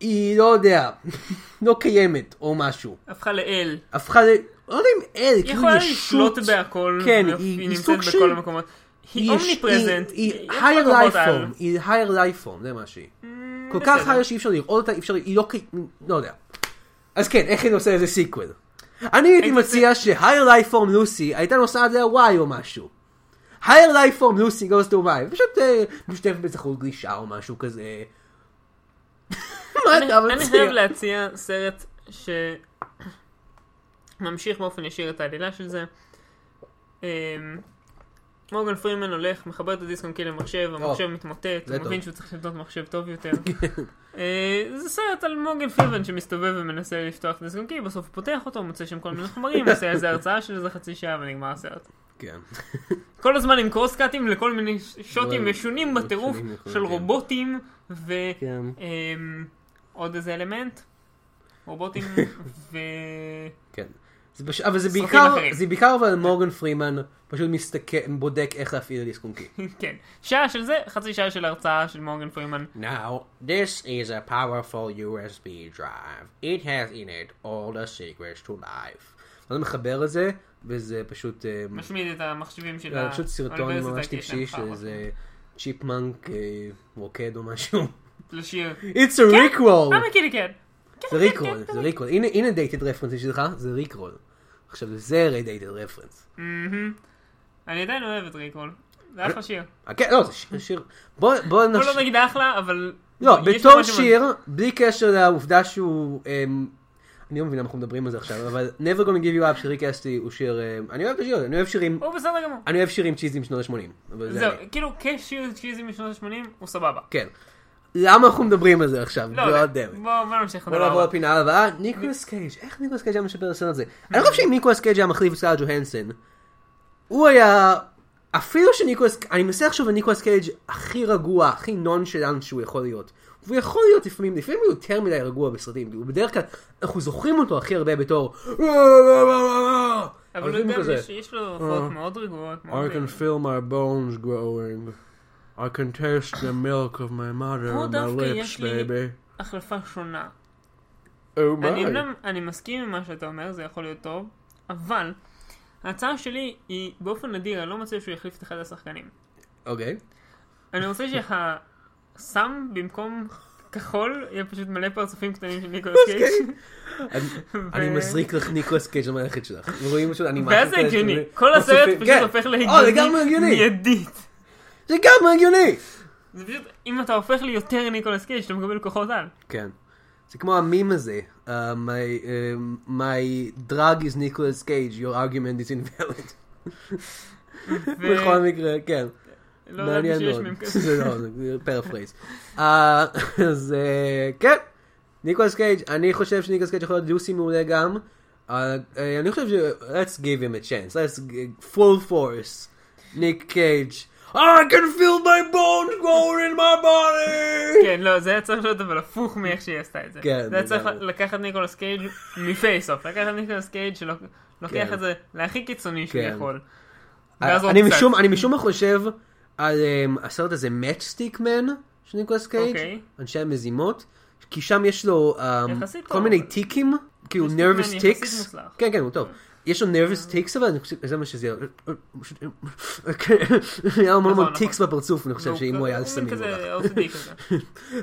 היא לא יודע, לא קיימת או משהו.
הפכה לאל.
הפכה ל... לא יודע אם אל,
היא
כאילו
יכולה
ישות.
לשלוט בהכל.
כן,
והיא-
היא- היא
היא נמצאת
סוג של-
בכל המקומות. היא אומניפרזנט.
היא
יש לה
higher
כוחות
life
על. Mm,
form, היא higher life form, זה מה שהיא. כל כך
בסדר.
higher שאי אפשר לראות אותה, אי אפשר, היא לא כ... לא יודע. אז כן, איך היא עושה איזה סיקוול? אני הייתי
עושה-
מציע ש-higher life form לוסי הייתה נוסעת ל-Y או משהו. higher life form לוסי goes to Y, פשוט אה, משתתפת באיזה חוג גלישה או משהו כזה. מה אתה
אני- אני חייב
מציע?
להציע סרט שממשיך באופן ישיר את העלילה של זה. אמ, מורגן פרימן הולך, מחבר את הדיסק-און-קי למחשב, המחשב מתמוטט,
זה
הוא מבין
טוב. כן.
שהוא צריך לבנות מחשב טוב יותר. אה, זה סרט על מורגן פרימן שמסתובב ומנסה לפתוח דיסק-און-קי, בסוף הוא פותח אותו, מוצא שם כל מיני חומרים, עושה איזה הרצאה של איזה חצי שעה ונגמר הסרט.
כן.
כל הזמן עם קרוס קאטים לכל מיני ש- שוטים
וואי,
משונים בטירוף
משונים לחלוטין.
של רובוטים ו...
כן.
אמ, עוד איזה אלמנט, רובוטים ו...
כן. זה פש... אבל זה
סרטים
בעיקר,
אחרים.
זה בעיקר אבל מורגן פרימן פשוט מסתכל, בודק איך להפעיל את דיסקונקי.
כן, שעה של זה, חצי שעה של הרצאה של מורגן פרימן.
Now, this is a powerful USB drive. It has in it all the secrets to life. אני מחבר את זה, וזה פשוט... אה,
משמיד את המחשבים של
זה אה, פשוט סרטון
האוניברסיטה, כן,
ממש
כי יש להם
טיפשי
חרא.
שזה צ'יפמנק אה, רוקד או משהו.
לשיר. כן,
It's a
אה,
ריקרול!
מכיר לי כן. כן,
זה
כן,
ריקרול,
כן,
זה
כן.
ריקרול. הנה- הנה דייטד רפרנס שלך, זה ריקרול. עכשיו זה הרי דייטד רפרנס.
מהמם. Mm-hmm. אני עדיין אוהב את ריקרול. זה אחלה שיר.
כן, לא, זה ש- שיר... בוא בוא
בוא
נש...
לא נגיד אחלה, אבל...
לא,
יש לו
בתור
משהו-
שיר, בלי קשר לעובדה שהוא... אמ, אני לא מבין למה אנחנו מדברים על זה עכשיו, אבל never gonna give you up של ריק אסטי הוא שיר... אמ, אני אוהב את השיר הזה, אני אוהב שירים...
הוא בסדר גמור.
אני אוהב שירים צ'יזים משנות ה-80.
זהו, כאילו, כשיר צ'יזי משנות ה-80, הוא סבבה.
כן. למה אנחנו מדברים על זה עכשיו?
לא
God
יודע.
damn it.
בוא בוא נמשיך.
בוא
לדבר
נעבור
הבא.
לפינה הבאה, ניקולס קייג', איך ניקולס קייג' היה משפר את הסרט הזה? אני לא חושב שאם ניקולס קייג' היה מחליף את סקארל ג'והנסן, הוא היה... אפילו שניקולס, אני מנסה לחשוב על ניקולס קייג' הכי רגוע, הכי נון שלנו שהוא יכול להיות. הוא יכול להיות לפעמים, לפעמים הוא יותר מדי רגוע בסרטים, הוא בדרך כלל, אנחנו זוכרים אותו הכי הרבה בתור...
אבל
לפעמים
הוא
הוא
גם,
כזה,
יש- יש לו
אה.
הופעות מאוד רגועות. מאוד
I can feel my bones growing. I can taste the milk of my mother
פה
on my
דווקא יש
lips,
לי-
baby.
החלפה שונה.
Oh
אני לא-
my.
אמנם, אני מסכים עם מה שאתה אומר, זה יכול להיות טוב, אבל ההצעה שלי היא, באופן נדיר, אני לא מציע שהוא יחליף את אחד השחקנים.
אוקיי.
אני רוצה שהסם במקום כחול, יהיה פשוט מלא פרצופים קטנים של ניקולס
אוקיי.
קייג'. אוקיי.
אני מזריק לך ניקולס קייג' למערכת שלך. רואים פשוט אנימציה.
ואז זה
כזה
הגיוני.
שאתם-
כל הסרט
מוסיפים-
פשוט
כן.
הופך
או, זה גם
להגיוני
הגיוני.
מיידית.
זה גם הגיוני.
זה פשוט, אם אתה הופך ליותר ניקולס קייג', אתה מקבל כוחות על.
כן. זה כמו המים הזה. uh, my, uh, My drug is ניקולס קייג', your argument is invalid.
ו-
בכל מקרה, כן.
לא ידעתי
מעניין
שיש
מאוד.
מ"ם כזה.
זה לא, זה פרפרייז. אה, אז אה, כן, ניקולס קייג', אני חושב שניקולס קייג' יכול להיות לוסי מעולה גם. אה, אה, אני חושב ש... let's give him a chance, let's g- full force, ניק קייג'. I can feel my bones growing in my body!
כן, לא, זה היה צריך להיות אבל הפוך מאיך שהיא עשתה את זה.
כן,
זה היה צריך
לגמרי.
לקחת ניקולס קייג' מפייסוף, לקחת ניקולס קייג' שלוקח
כן.
את זה להכי קיצוני שהוא
כן.
יכול. ואז
אה, אני
עוד קצת.
משום, אני משום מה חושב על אמ, הסרט הזה, Matchstick Man, של ניקולס קייג',
אוקיי.
אנשי המזימות, כי שם יש לו אמ,
יחסית
כל
טוב,
מיני
אבל-
טיקים, כאילו
Matchstick Man
nervous
יחסית
ticks,
מוצלח. אה.
כן כן הוא טוב, יש לו nervous ticks אבל אני חושב, זה מה שזה, פשוט- היה לו המון המון
נכון,
ticks
נכון.
בפרצוף, אני חושב
והוא
שאם הוא היה על
מין
סמים, הוא הלך.
כזה OCD כזה.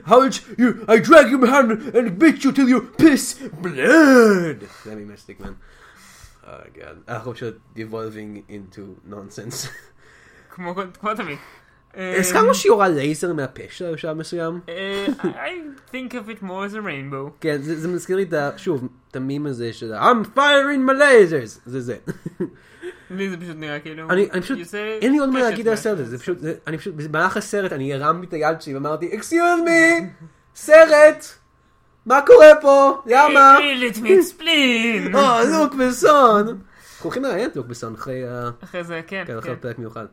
How did you, I drag you behind and beat you till you piss blood. זה ממשטיק מן. Oh אנחנו פשוט devolving into nonsense.
כמו כמו תמיד. אה,
הסכמנו שהיא יורה לייזר מהפה שלה בשלב מסוים?
אה, I think of it more as a rainbow.
כן, זה זה מזכיר לי את ה... שוב, את המים הזה של ה- I'm firing my lasers! זה זה.
לי זה פשוט נראה כאילו...
אני אני פשוט,
יוצא
אין לי עוד מה
קשת
להגיד על
מה-
הסרט הזה, זה פשוט, זה- אני פשוט, במהלך הסרט אני הרמתי את היד שלי ואמרתי, אקסיוז מי, סרט, מה קורה פה, למה?
Hey, let me explain.
אה, לוק בסון. אנחנו הולכים לראיין את לוק בסון אחרי ה-
אחרי זה, כן,
כן, אחרי
כן.
פרק מיוחד.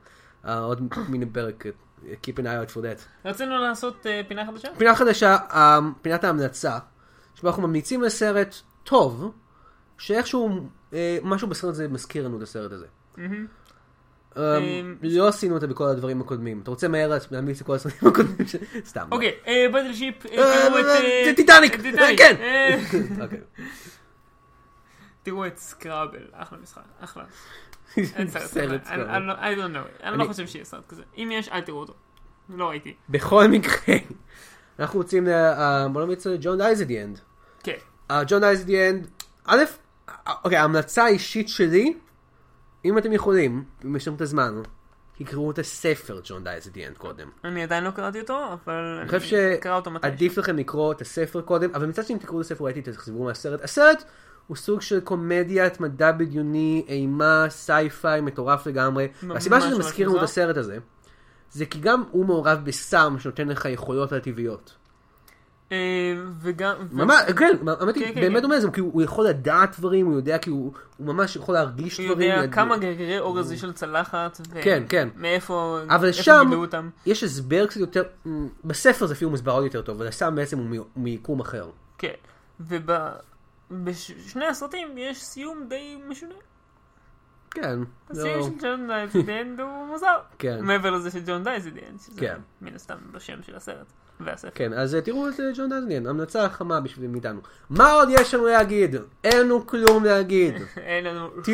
אה, עוד מיני פרק, אה, Keep an eye out for that.
רצינו לעשות אה, פינה חדשה?
פינה חדשה, אה, פינת ההמלצה, שבה אנחנו ממליצים לסרט טוב, שאיכשהו אה, משהו בסרט הזה מזכיר לנו את הסרט הזה. אה,
Mm-hmm. אמ,
לא עשינו את זה בכל הדברים הקודמים. אתה רוצה מהר להמליץ לכל הסרטים הקודמים? ש- סתם. לא.
אוקיי, אה, בטלשיפ, אה,
אה,
תראו את... אה,
זה טיטניק!
את טיטניק.
כן.
אה,
אוקיי.
תראו את סקראבל, אחלה משחק, אחלה. אין סרט
סרט
כזה. אני-
כזה.
אני לא- I don't know. אני לא חושב שיהיה סרט כזה. אם יש, אל תראו אותו. לא ראיתי.
בכל מקרה, אנחנו רוצים, ל- אה, בוא נמיץ ג'ון דייז את the end.
כן.
ג'ון דייז את the end, א', אוקיי, ההמלצה האישית שלי, אם אתם יכולים, אם יש לכם את הזמן, תקראו את הספר ג'ון דייז את the end קודם.
אני עדיין לא קראתי אותו, אבל
אני חושב
אקרא אותו מתי.
שעדיף לכם לקרוא את הספר קודם, אבל מצד שני אם תקראו את הספר ראיתי תחזרו מהסרט. הסרט הוא סוג של קומדיית מדע בדיוני, אימה, סייפיי, מטורף לגמרי. והסיבה שזה
ממש
מזכיר לנו את
מוזר.
הסרט הזה, זה כי גם הוא מעורב בסם שנותן לך יכולות על טבעיות.
אה, וגם... ו-
ממש, כן, האמת
כן,
היא,
כן,
באמת
כן.
דומה לזה, כי הוא הוא יכול לדעת דברים, הוא יודע, כי הוא הוא ממש יכול להרגיש
הוא
דברים.
יודע
יד-
כמה גרגרי אורזי של צלחת, ו-
כן, כן.
מאיפה
אבל
איפה
שם
גילו אותם.
יש הסבר קצת יותר, בספר זה אפילו מוסבר עוד יותר טוב, אבל הסם בעצם הוא מ- מיקום אחר.
כן. ובשני הסרטים יש סיום די משונה.
כן.
הסיום
לא-
של ג'ון דייזידנד הוא מוזר.
כן.
מעבר לזה של ג'ון דייזידנד, שזה
כן.
מן הסתם בשם של הסרט. והספר.
כן, אז אה, תראו את אה, ג'ון דזניאן, המלצה חמה בשביל מאיתנו. מה עוד יש לנו להגיד? אין לנו כלום להגיד.
אין לנו שום דבר.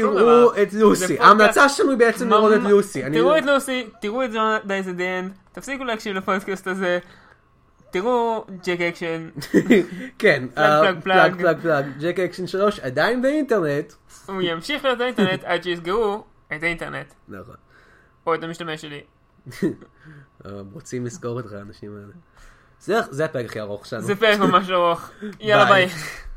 תראו את לוסי.
נכון, זה
ההמלצה
פודקאסט
שלנו היא בעצם לראות את
ממ-
לוסי. אני- לא-
תראו את לוסי, תראו את ג'ון דייזידנד, תפסיקו להקשיב לפודקאסט הזה, תראו ג'ק אקשן,
כן, אה,
פלאג, פלאג,
פלאג פלאג פלאג. ג'ק אקשן 3 עדיין באינטרנט.
הוא ימשיך להיות באינטרנט עד שיסגרו את האינטרנט,
נכון.
או את המשתמש שלי.
אה, רוצים לזכור אותך האנשים האלה. זה- זה הפרק הכי ארוך שלנו.
זה פרק ממש ארוך, יאללה
ביי.
ביי.